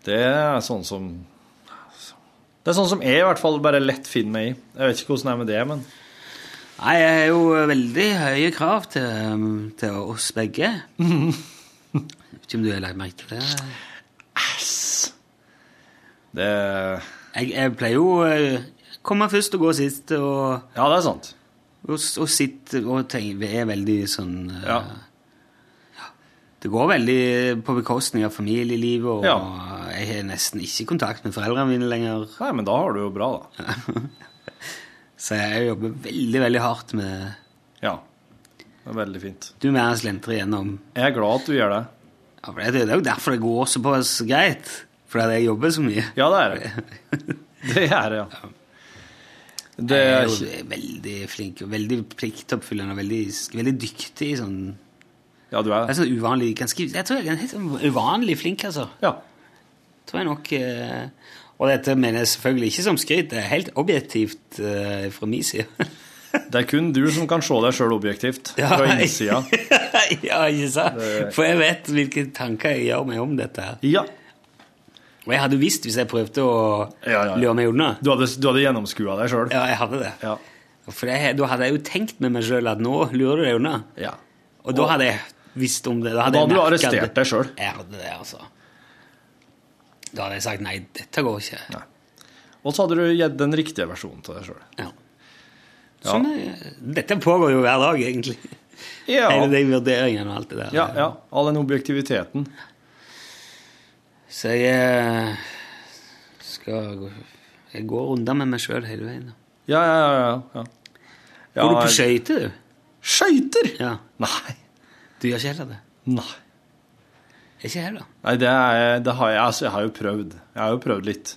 Det er sånn som Det er sånn som jeg i hvert fall bare lett finner meg i. Jeg vet ikke hvordan det er med det, men
Nei, jeg har jo veldig høye krav til, um, til oss begge. Jeg vet ikke om du har lagt merke til det?
det
Jeg, jeg pleier jo å komme først og gå sist, og,
Ja, det er sant.
og, s- og sitte og tenke Jeg er veldig sånn eh,
Ja.
Det går veldig på bekostning av familielivet, og
Ja.
jeg har nesten ikke kontakt med foreldrene mine lenger.
Nei, men da har du jo bra, da.
Så jeg jobber veldig, veldig hardt med
Ja. Det er veldig fint.
Du mer slentrer igjennom.
Jeg er glad at du gjør det.
Ja, for Det det er jo derfor det går såpass greit. Fordi jeg jobber så mye.
Ja, det er det. Det er det, ja. Det
Jeg
er
er jo
ikke
veldig flink og veldig pliktoppfyllende og veldig, veldig dyktig. Sånn.
Ja, du
Jeg
er
er
det.
sånn uvanlig ganske, Jeg tror jeg er helt sånn uvanlig flink, altså.
Ja.
Tror jeg nok eh, Og dette mener jeg selvfølgelig ikke som skryt, det er helt objektivt eh, fra min side.
Det er kun du som kan se deg sjøl objektivt
Ja.
fra innsida.
ja, ikke sant? For jeg vet hvilke tanker jeg gjør meg om dette. her.
Ja.
Og jeg hadde visst hvis jeg prøvde å
Ja, ja, ja.
lure meg unna.
Du hadde, du hadde gjennomskua deg sjøl.
Ja, jeg hadde det.
Ja.
For jeg, da hadde jeg jo tenkt med meg sjøl at nå lurer du deg unna.
ja.
Og da hadde jeg visst om det. Da hadde,
Da
jeg
hadde du
merket
arrestert
det.
deg selv.
Jeg hadde det, altså. Da hadde jeg sagt nei, dette går ikke.
Og så hadde du gitt den riktige versjonen til deg sjøl.
Ja. Sånn, er- Dette pågår jo hver dag, egentlig.
Ja.
Hele de vurderingene og alt det der.
Ja, ja. All den objektiviteten.
Så jeg eh, skal gå- Jeg går runder med meg sjøl hele veien. da.
Ja, ja, ja. ja. ja.
Går du på skøyter, du?
skøyter?
Ja.
Nei.
Du gjør ikke heller det?
Nei.
Ikke jeg heller.
Nei, det, er, det har jeg, altså, jeg har jo prøvd. Jeg har jo prøvd litt,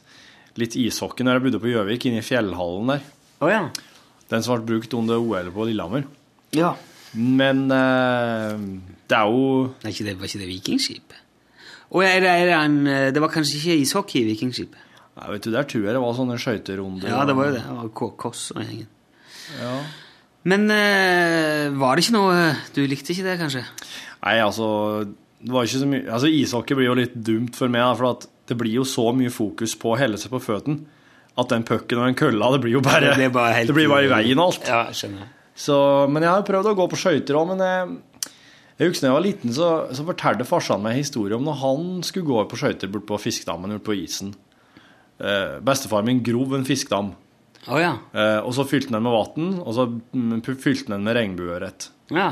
litt ishockey når jeg bodde på Gjøvik, inne i fjellhallen der.
Å ja.
Den som ble brukt under OL på Lillehammer.
ja.
Men eh, det er jo
Nei, ikke det, var ikke det vikingskipet? Å ja, er det, er det, en, eh, det var kanskje ikke ishockey i Vikingskipet?
Nei, vet du, Der tror jeg det var sånne skøyterunder.
Ja, det var jo det. Det var K- Koss og gjengen. Men eh, var det ikke noe Du likte ikke det, kanskje?
Nei, altså, det var ikke så mye, altså Ishockey blir jo litt dumt for meg, da, for at det blir jo så mye fokus på å helle seg på føttene at den pucken og den kølla det blir jo bare,
Det blir bare helt-
det blir bare i veien og alt.
Ja, skjønner.
Så, men jeg har jo prøvd å gå på skøyter òg, men jeg, jeg husker da jeg var liten, så, så fortalte farsan meg en historie om når han skulle gå på skøyter borte på fiskedammen borte på isen. Eh, bestefar min grov en fiskedam,
Å ja.
eh, og så fylte han den med vann, og så mm, fylte han den med regnbueørret.
ja.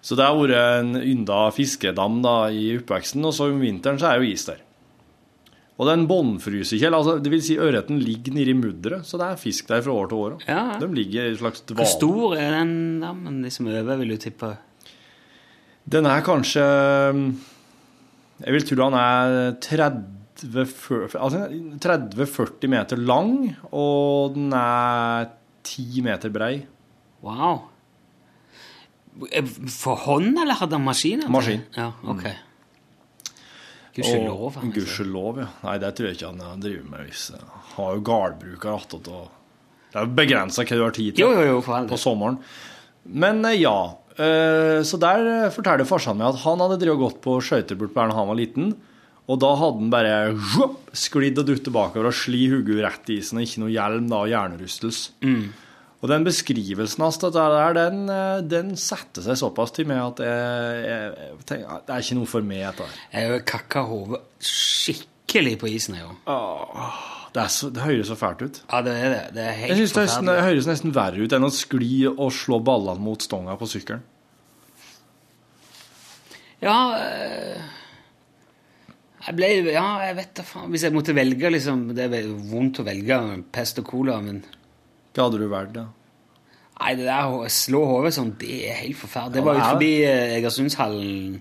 Så det har vært en ynda fiskedam da, i oppveksten, og så om vinteren så er jo is der. Og den båndfryser ikke, eller altså, det vil si ørreten ligger nedi mudderet, så det er fisk der fra år til år. også.
Ja, ja.
De ligger i en slags dvale.
Hvor stor er den dammen de som øver, vil du tippe?
Den er kanskje mm, Jeg vil tro han er 30 fyr- altså 30-40 meter lang, og den er 10 meter brei.
Wow. Eh, For hånd, eller hadde han maskin? altså?
Maskin. Mm.
Ja, ok. Gudskjelov.
Og-
han, altså.
Gudskjelov, ja. Nei, det tror jeg ikke han eh, driver med. Hvis han har jo gardbruker attåt og Det er jo begrensa hva du har tid til
Jo, jo, jo, for all
på
del.
sommeren. Men eh, ja. eh, Så der eh, forteller farsan meg at han hadde drevet og gått på skøyter bort på her da han var liten. Og da hadde han bare zhup, sklidd og dutt bakover og sli hodet rett i isen. og Ikke noe hjelm da, og hjernerystelse.
Mm.
Og den beskrivelsen hans, dette der, den, eh, den setter seg såpass til meg at jeg, jeg, jeg tenker, "Ah, det er ikke noe for meg, dette her.
Jeg har kakka hodet skikkelig på isen i år.
Det, er så, det høres så fælt ut.
Ja, det er det. Det er
Jeg
helt
synes det, er nesten- det
forferdelig.
høres nesten verre ut enn å skli og slå ballene mot stonga på sykkelen.
Ja eh, Jeg ble Ja, jeg vet da faen. Hvis jeg måtte velge, liksom Det er vel vondt å velge pest og cola, men
Hva hadde du valgt, da?
Nei, det der å slå hodet sånn, det er helt forferdelig. Det
Ja,
var
det
ut
er
forbi eh, Egersundshallen.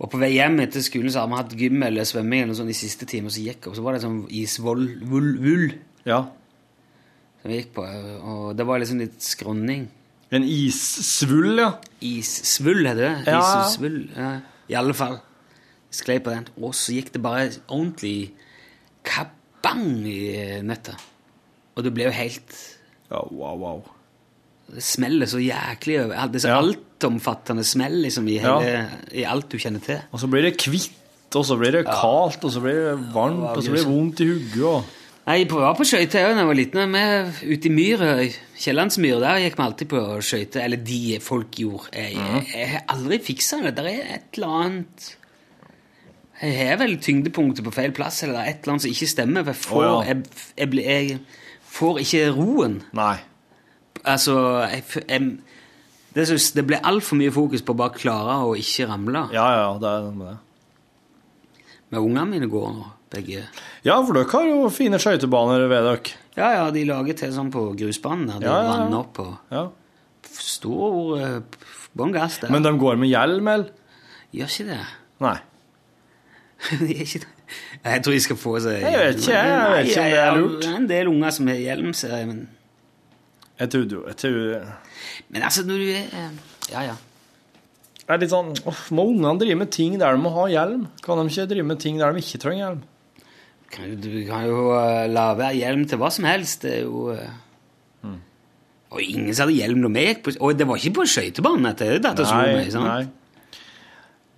Og på vei hjem etter skolen så har vi hatt gym eller svømming eller noe sånt de siste timene, og så gikk jeg opp, så var det sånn isvoll... Vull, vull
Ja,
som vi gikk på, og det var liksom litt skråning.
en issvull, ja.
Issvull heter det.
Ja.
Issvull. Ja. I alle fall. Sklei på den, og så gikk det bare ordentlig kabang i eh, nøtta. Og det ble jo helt
Ja, wow, wow.
Det smeller så jæklig over. alt- Det er så
Ja.
altomfattende smell liksom, i, hele, i alt du kjenner til.
Og så blir det kvitt, og så blir det kaldt, og så blir det varmt, og så blir det vondt i hodet. og-
Nei, Jeg var på skøyter òg da jeg var liten. Vi Ute i myra, i Kiellandsmyra, der gikk vi alltid på skøyter. Eller de folk gjorde. Jeg, jeg, jeg har aldri fiksa det. Der er et eller annet Jeg har vel tyngdepunktet på feil plass, eller det er et eller annet som ikke stemmer. for Jeg får,
Å, ja.
jeg, jeg, blir- jeg får ikke roen.
Nei.
Altså jeg, f- jeg, det, synes, det ble altfor mye fokus på å bare klare å ikke ramle.
Ja, ja, det er noe med det.
Men ungene mine går nå, begge.
Ja, for dere har jo fine skøytebaner ved dere.
Ja, ja, de lager til sånn på grusbanen. Der de
Ja, ja, ja.
vanner opp og
Ja.
stor eh, f- bånn gass der.
Men de går med hjelm, eller?
Gjør ikke det.
Nei.
De gjør ikke det. Jeg tror de skal få seg
Jeg vet ikke, jeg vet ikke om det er lurt.
Det er en del unger som har hjelm, ser jeg, men,
Jeg tror jo jeg tror-
men altså, når du er eh, Ja, ja.
Det er litt sånn uff, Må ungene drive med ting der de må ha hjelm? Kan de ikke drive med ting der de ikke trenger hjelm?
Kan, jo- du kan jo eh, la være hjelm til hva som helst. Det er jo eh,
Mm.
Og ingen som hadde hjelm når vi gikk på Og det var ikke på skøytebanen at det datt og slo meg. sant?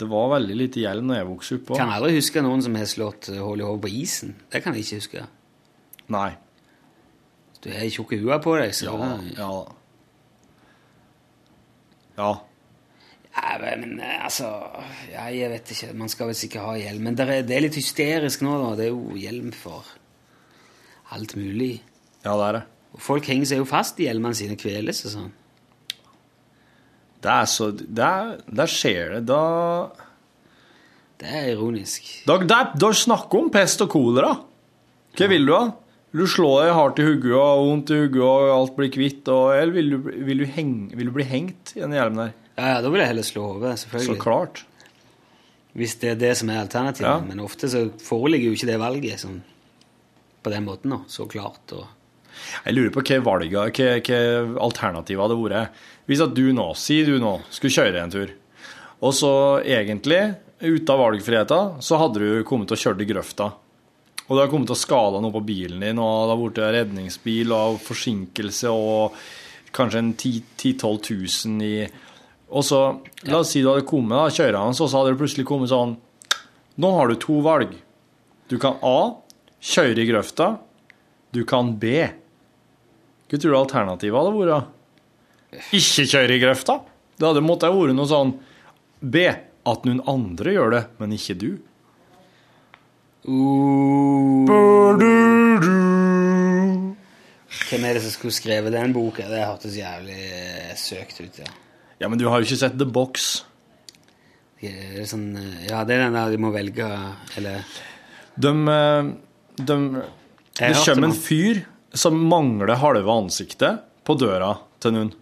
Det var veldig lite hjelm når jeg vokste opp. også.
Kan aldri huske noen som har slått eh, hull i hodet på isen. Det kan jeg ikke huske.
Nei.
Du har tjukke huer på deg, så
Ja, ja. Ja.
Nei, men eh, altså ja, Jeg vet ikke. Man skal vel sikkert ha hjelm. Men det er, det er litt hysterisk nå, da. Det er jo hjelm for alt mulig.
ja, det er det.
Og folk henger seg jo fast i hjelmene sine, kveles og sånn.
Det er så Der, der skjer det. Da
Det er ironisk.
Dere der- dere snakker om pest og kolera. Hva vil du, da? Vil du slå deg hardt i hodet og vondt i hodet og alt blir kvitt? Og, eller vil du, vil, du heng, vil du bli hengt i den hjelmen der?
Ja, ja, Da vil jeg heller slå hodet,
Så
selvfølgelig.
klart.
Hvis det er det som er alternativet.
Ja.
Men ofte så foreligger jo ikke det valget sånn, på den måten, da. Så klart. Og...
Jeg lurer på hva valget, hva, hva alternativet hadde vært. Hvis at du nå, si du nå, skulle kjøre en tur, og så egentlig, ute av valgfriheten, så hadde du kommet til å kjøre til grøfta. Og du har kommet til å skade noe på bilen din, og det har vært en redningsbil og forsinkelse og kanskje en 10 10-12 000 i Og så, la oss si du hadde kommet, da, kjøret hans, og så hadde det plutselig kommet sånn Nå har du to valg. Du kan A. Kjøre i grøfta. Du kan B. Hva tror du alternativet hadde vært? da? Ikke kjøre i grøfta? Det hadde måttet vært noe sånn B. At noen andre gjør det, men ikke du.
Uh.
Du-du-du.
Hvem er det som skulle skrevet den boka? Det hørtes jævlig eh, søkt ut, ja.
Ja, men du har jo ikke sett The Box.
Det er sånn, eh, ja, det er den der du må velge, eller
De, eh, de, det
Jeg hørte
kommer
noe.
en fyr som mangler halve ansiktet på døra til noen.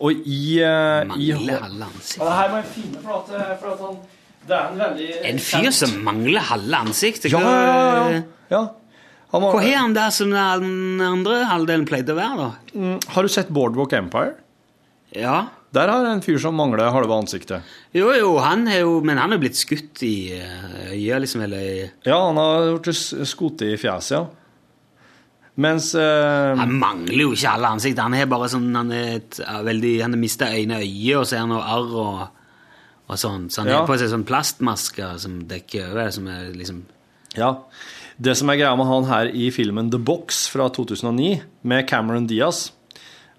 Og i, eh, i
Mangler halve ansiktet.
Det her må jeg finne, for at, for at han Det er en veldig
En fyr som mangler halve ansiktet? eh,
Ja, ja, ja. ja. ja. Han var-
Hva har han der som den andre halvdelen pleide å være, da?
Mm, Har du sett Boardwalk Empire?
Ja.
Der har en fyr som mangler halve ansiktet.
Jo, jo, han er jo Men han er jo blitt skutt i eh, øyet, liksom, eller i
Ja, han har blitt skutt i fjeset, ja. Mens eh,
Han mangler jo ikke halve ansiktet. Han er bare sånn Han er et, er veldig Han har mista øyne og øye, og så er han noe arr og, og sånn. Så han
Ja.
har på seg sånn plastmasker som dekker over, som er liksom
Ja. Det som er greia med han her i filmen The Box fra 2009, med Cameron Diaz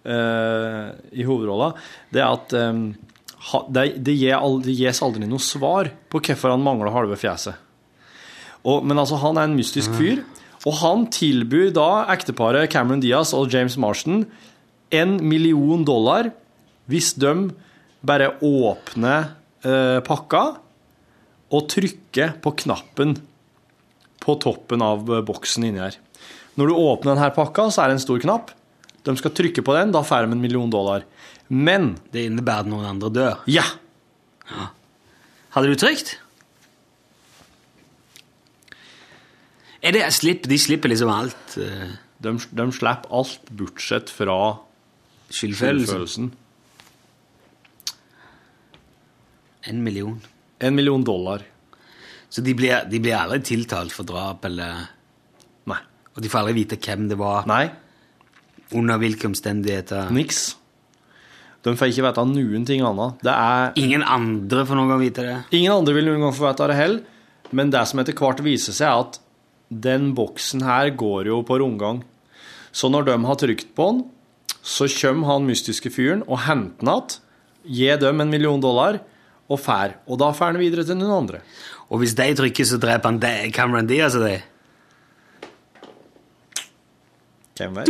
eh, i hovedrolla, det er at eh, ha, det, det, gir aldri, det gis aldri noe svar på hvorfor han mangler halve fjeset. Og, men altså, han er en mystisk fyr, og han tilbyr da ekteparet Cameron Diaz og James Marston en million dollar hvis de bare åpner eh, pakka og trykker på knappen på toppen av eh, boksen inni her. Når du åpner denne pakka, så er det en stor knapp. De skal trykke på den, da får de en million dollar. Men
Det innebærer at noen andre dør.
ja!
Hadde du trykt? Er det slipp? De slipper liksom alt. eh,
De, de slipper alt bortsett fra
Skyldfølelsen.
følelsen.
En million.
En million dollar.
Så de blir, de blir aldri tiltalt for drap, eller
Nei.
Og de får aldri vite hvem det var,
Nei,
under hvilke omstendigheter.
niks. De får ikke vite noen ting annet. Det er
Ingen andre får noen gang vite det.
Ingen andre vil noen gang få vite av det heller, men det som etter hvert viser seg, er at den boksen her går jo på rundgang. Så når de har trykt på den, så kommer han mystiske fyren og henter den igjen, gir dem en million dollar og fær. Og da fær han videre til noen andre.
Og hvis de trykker, så dreper han de, Cameron Diaz og de.
Hvem vet?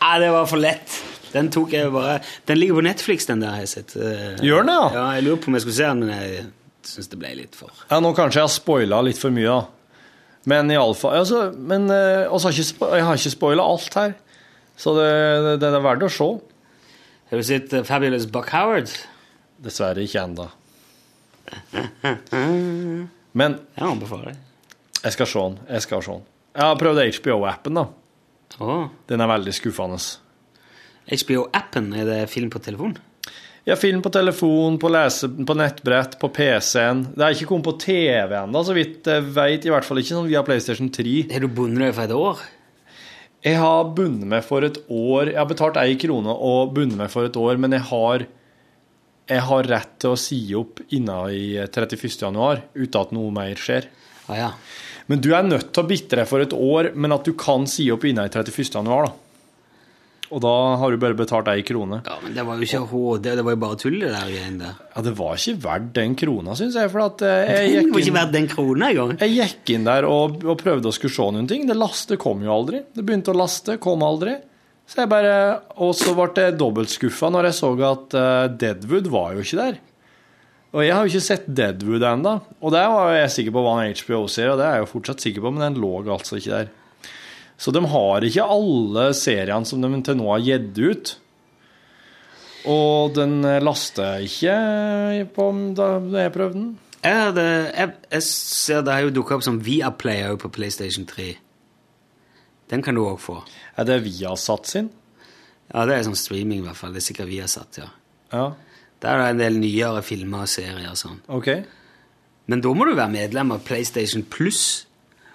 Ah, det var for lett. Den tok jeg bare Den ligger på Netflix, den der har jeg sett. Eh,
Gjør den det, ja?
Ja, Jeg lurer på om jeg skulle se den, men jeg syns det ble litt for
Ja, nå kanskje jeg har spoila litt for mye, da. Men iallfall altså, Men eh, oss har ikke, spo- jeg har ikke spoila alt her, så det, det, det er verdt å se.
Har du sett eh, Fabulous Buck Howard?
Dessverre ikke ennå. Men
Jeg anbefaler det.
jeg skal se den. Jeg skal se den. Jeg har prøvd HBO-appen, da.
Åh.
Den er veldig skuffende.
HBO-appen, er det film på telefon?
Ja, film på telefon, på, lese, på nettbrett, på PC-en. Det er ikke kommet på TV ennå, så vidt jeg veit. I hvert fall ikke sånn via PlayStation 3.
Har du bundet deg for et år?
Jeg har bundet meg for et år. Jeg har betalt ei krone og bundet meg for et år, men jeg har, jeg har rett til å si opp innen i 31. januar, uten at noe mer skjer.
Ah, ja.
Men du er nødt til å bitte deg for et år, men at du kan si opp innen 31. januar, da. Og da har du bare betalt ei krone.
ja, men det var jo ikke HD, det var jo bare tull, det der greiene der.
Ja, det var ikke verdt den krona, syns jeg, for at eh, jeg
Det var
gikk
ikke
inn,
verdt den krona engang.
jeg gikk inn der og, og prøvde å skulle se noen ting. Det laste kom jo aldri. Det begynte å laste, kom aldri. Så jeg bare, Og så ble jeg dobbeltskuffa når jeg så at eh, Deadwood var jo ikke der. Og jeg har jo ikke sett Deadwood ennå. Og det var jo jeg sikker på var en HBO-serie, og det er jeg jo fortsatt sikker på, men den lå altså ikke der. Så de har ikke alle seriene som de til nå har gitt ut. Og den eh, laster ikke på da jeg prøvde den.
Er det, jeg, jeg ser det har jo dukka opp som Viaplay òg på PlayStation 3. Den kan du òg få.
Er det Viasat sin?
Ja, det er sånn streaming, i hvert fall. Det er sikkert Viasat, ja.
Ja,
Der er det en del nyere filmer og serier og sånn.
OK.
Men da må du være medlem av PlayStation Pluss.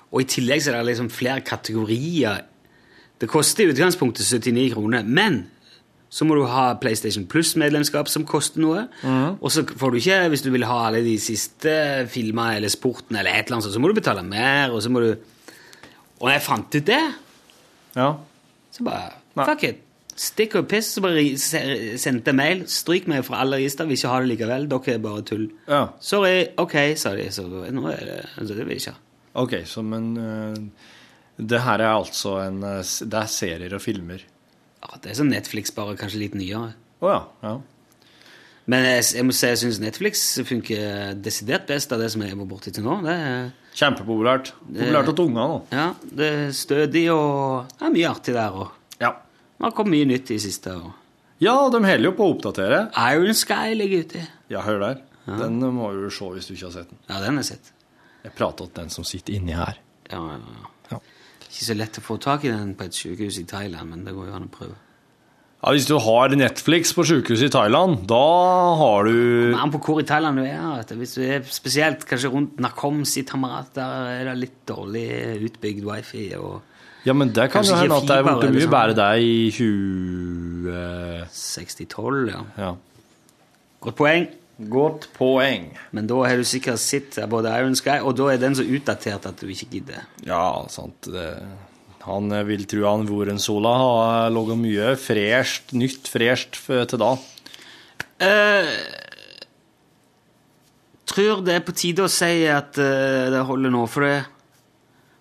Og i tillegg så er det liksom flere kategorier. Det koster i utgangspunktet 79 kroner, men så må du ha PlayStation Pluss-medlemskap, som koster noe. Og så får du ikke, hvis du vil ha alle de siste filmene eller sporten, eller et eller annet, sånt, så må du betale mer. Og så må du Og når jeg fant ut det,
Ja.
så bare Fuck it. Stikk og piss. Så bare ri- se- sendte jeg mail. Stryk meg fra alle register. Vil ikke ha det likevel. Dere er bare tull.
ja.
Sorry, ok, sa de. Så nå er det altså, Det vil jeg ikke ha.
OK, så men eh, Det her er altså en eh, s- Det er serier og filmer.
Ja, Det er som Netflix, bare kanskje litt nyere.
Å ja. ja.
Men jeg, jeg må si jeg syns Netflix funker desidert best av det som jeg er borti til nå. Det er,
Kjempepopulært. Populært hos ungene nå.
ja, det er stødig og det er mye artig der òg.
Ja.
Det har kommet mye nytt i siste. Og
ja, de holder jo på å oppdatere.
Iron Sky ligger ute.
Ja, hør der. Den må du se hvis du ikke har sett den.
Ja, den har jeg sett.
Jeg prater til den som sitter inni her.
Ja, ja,
Ja.
ja. Ikke så lett å få tak i den på et sykehus i Thailand, men det går jo an å prøve.
Ja, Hvis du har Netflix på sykehuset i Thailand, da har du
Men an på hvor i Thailand du er. Vet du. Hvis du er spesielt kanskje rundt Nakhon i Tamarat, der er det litt dårlig utbygd wifi. og
Ja, men det kan
Kanskje
jo hende
ikke
at det er
fiber
blitt
eller
mye
sånn.
bedre der i 20...
6012, ja.
Ja.
Godt poeng.
Godt poeng.
Men da har du sikkert sett både Iron Sky, og da er den så utdatert at du ikke gidder.
Ja, sant. Det- Han eh, vil tro han Vorensola har laget mye fresht, nytt fresht f- til da.
Uh, tror det er på tide å si at eh, det holder nå, for det.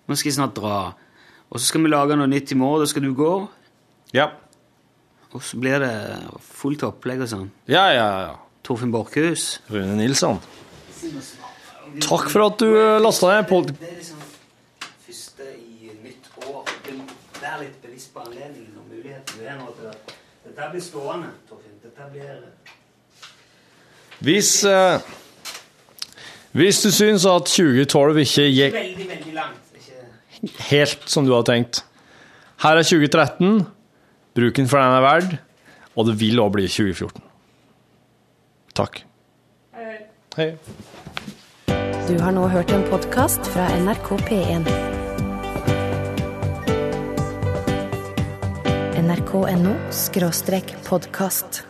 nå skal jeg snart dra. Og så skal vi lage noe nytt i morgen, da skal du gå.
Ja.
Og så blir det fullt opplegg og sånn.
Ja, ja, ja.
Torfinn Borchhus.
Rune Nilsson. Takk for at du eh, lastet ned pod...
Det er liksom første i nytt år. Vær litt bevisst på anledningen og muligheten. Det er noe til det. Dette blir stående, Torfinn. Dette blir...
Hvis, eh, hvis du syns at 2012 ikke gikk
Veldig, veldig langt. Ikke...
helt som du hadde tenkt Her er 2013. Bruk den for den er verd. Og det vil òg bli 2014. Takk. Hei.
Du har nå hørt en podkast fra NRK P1. NRK.no skråstrek podkast.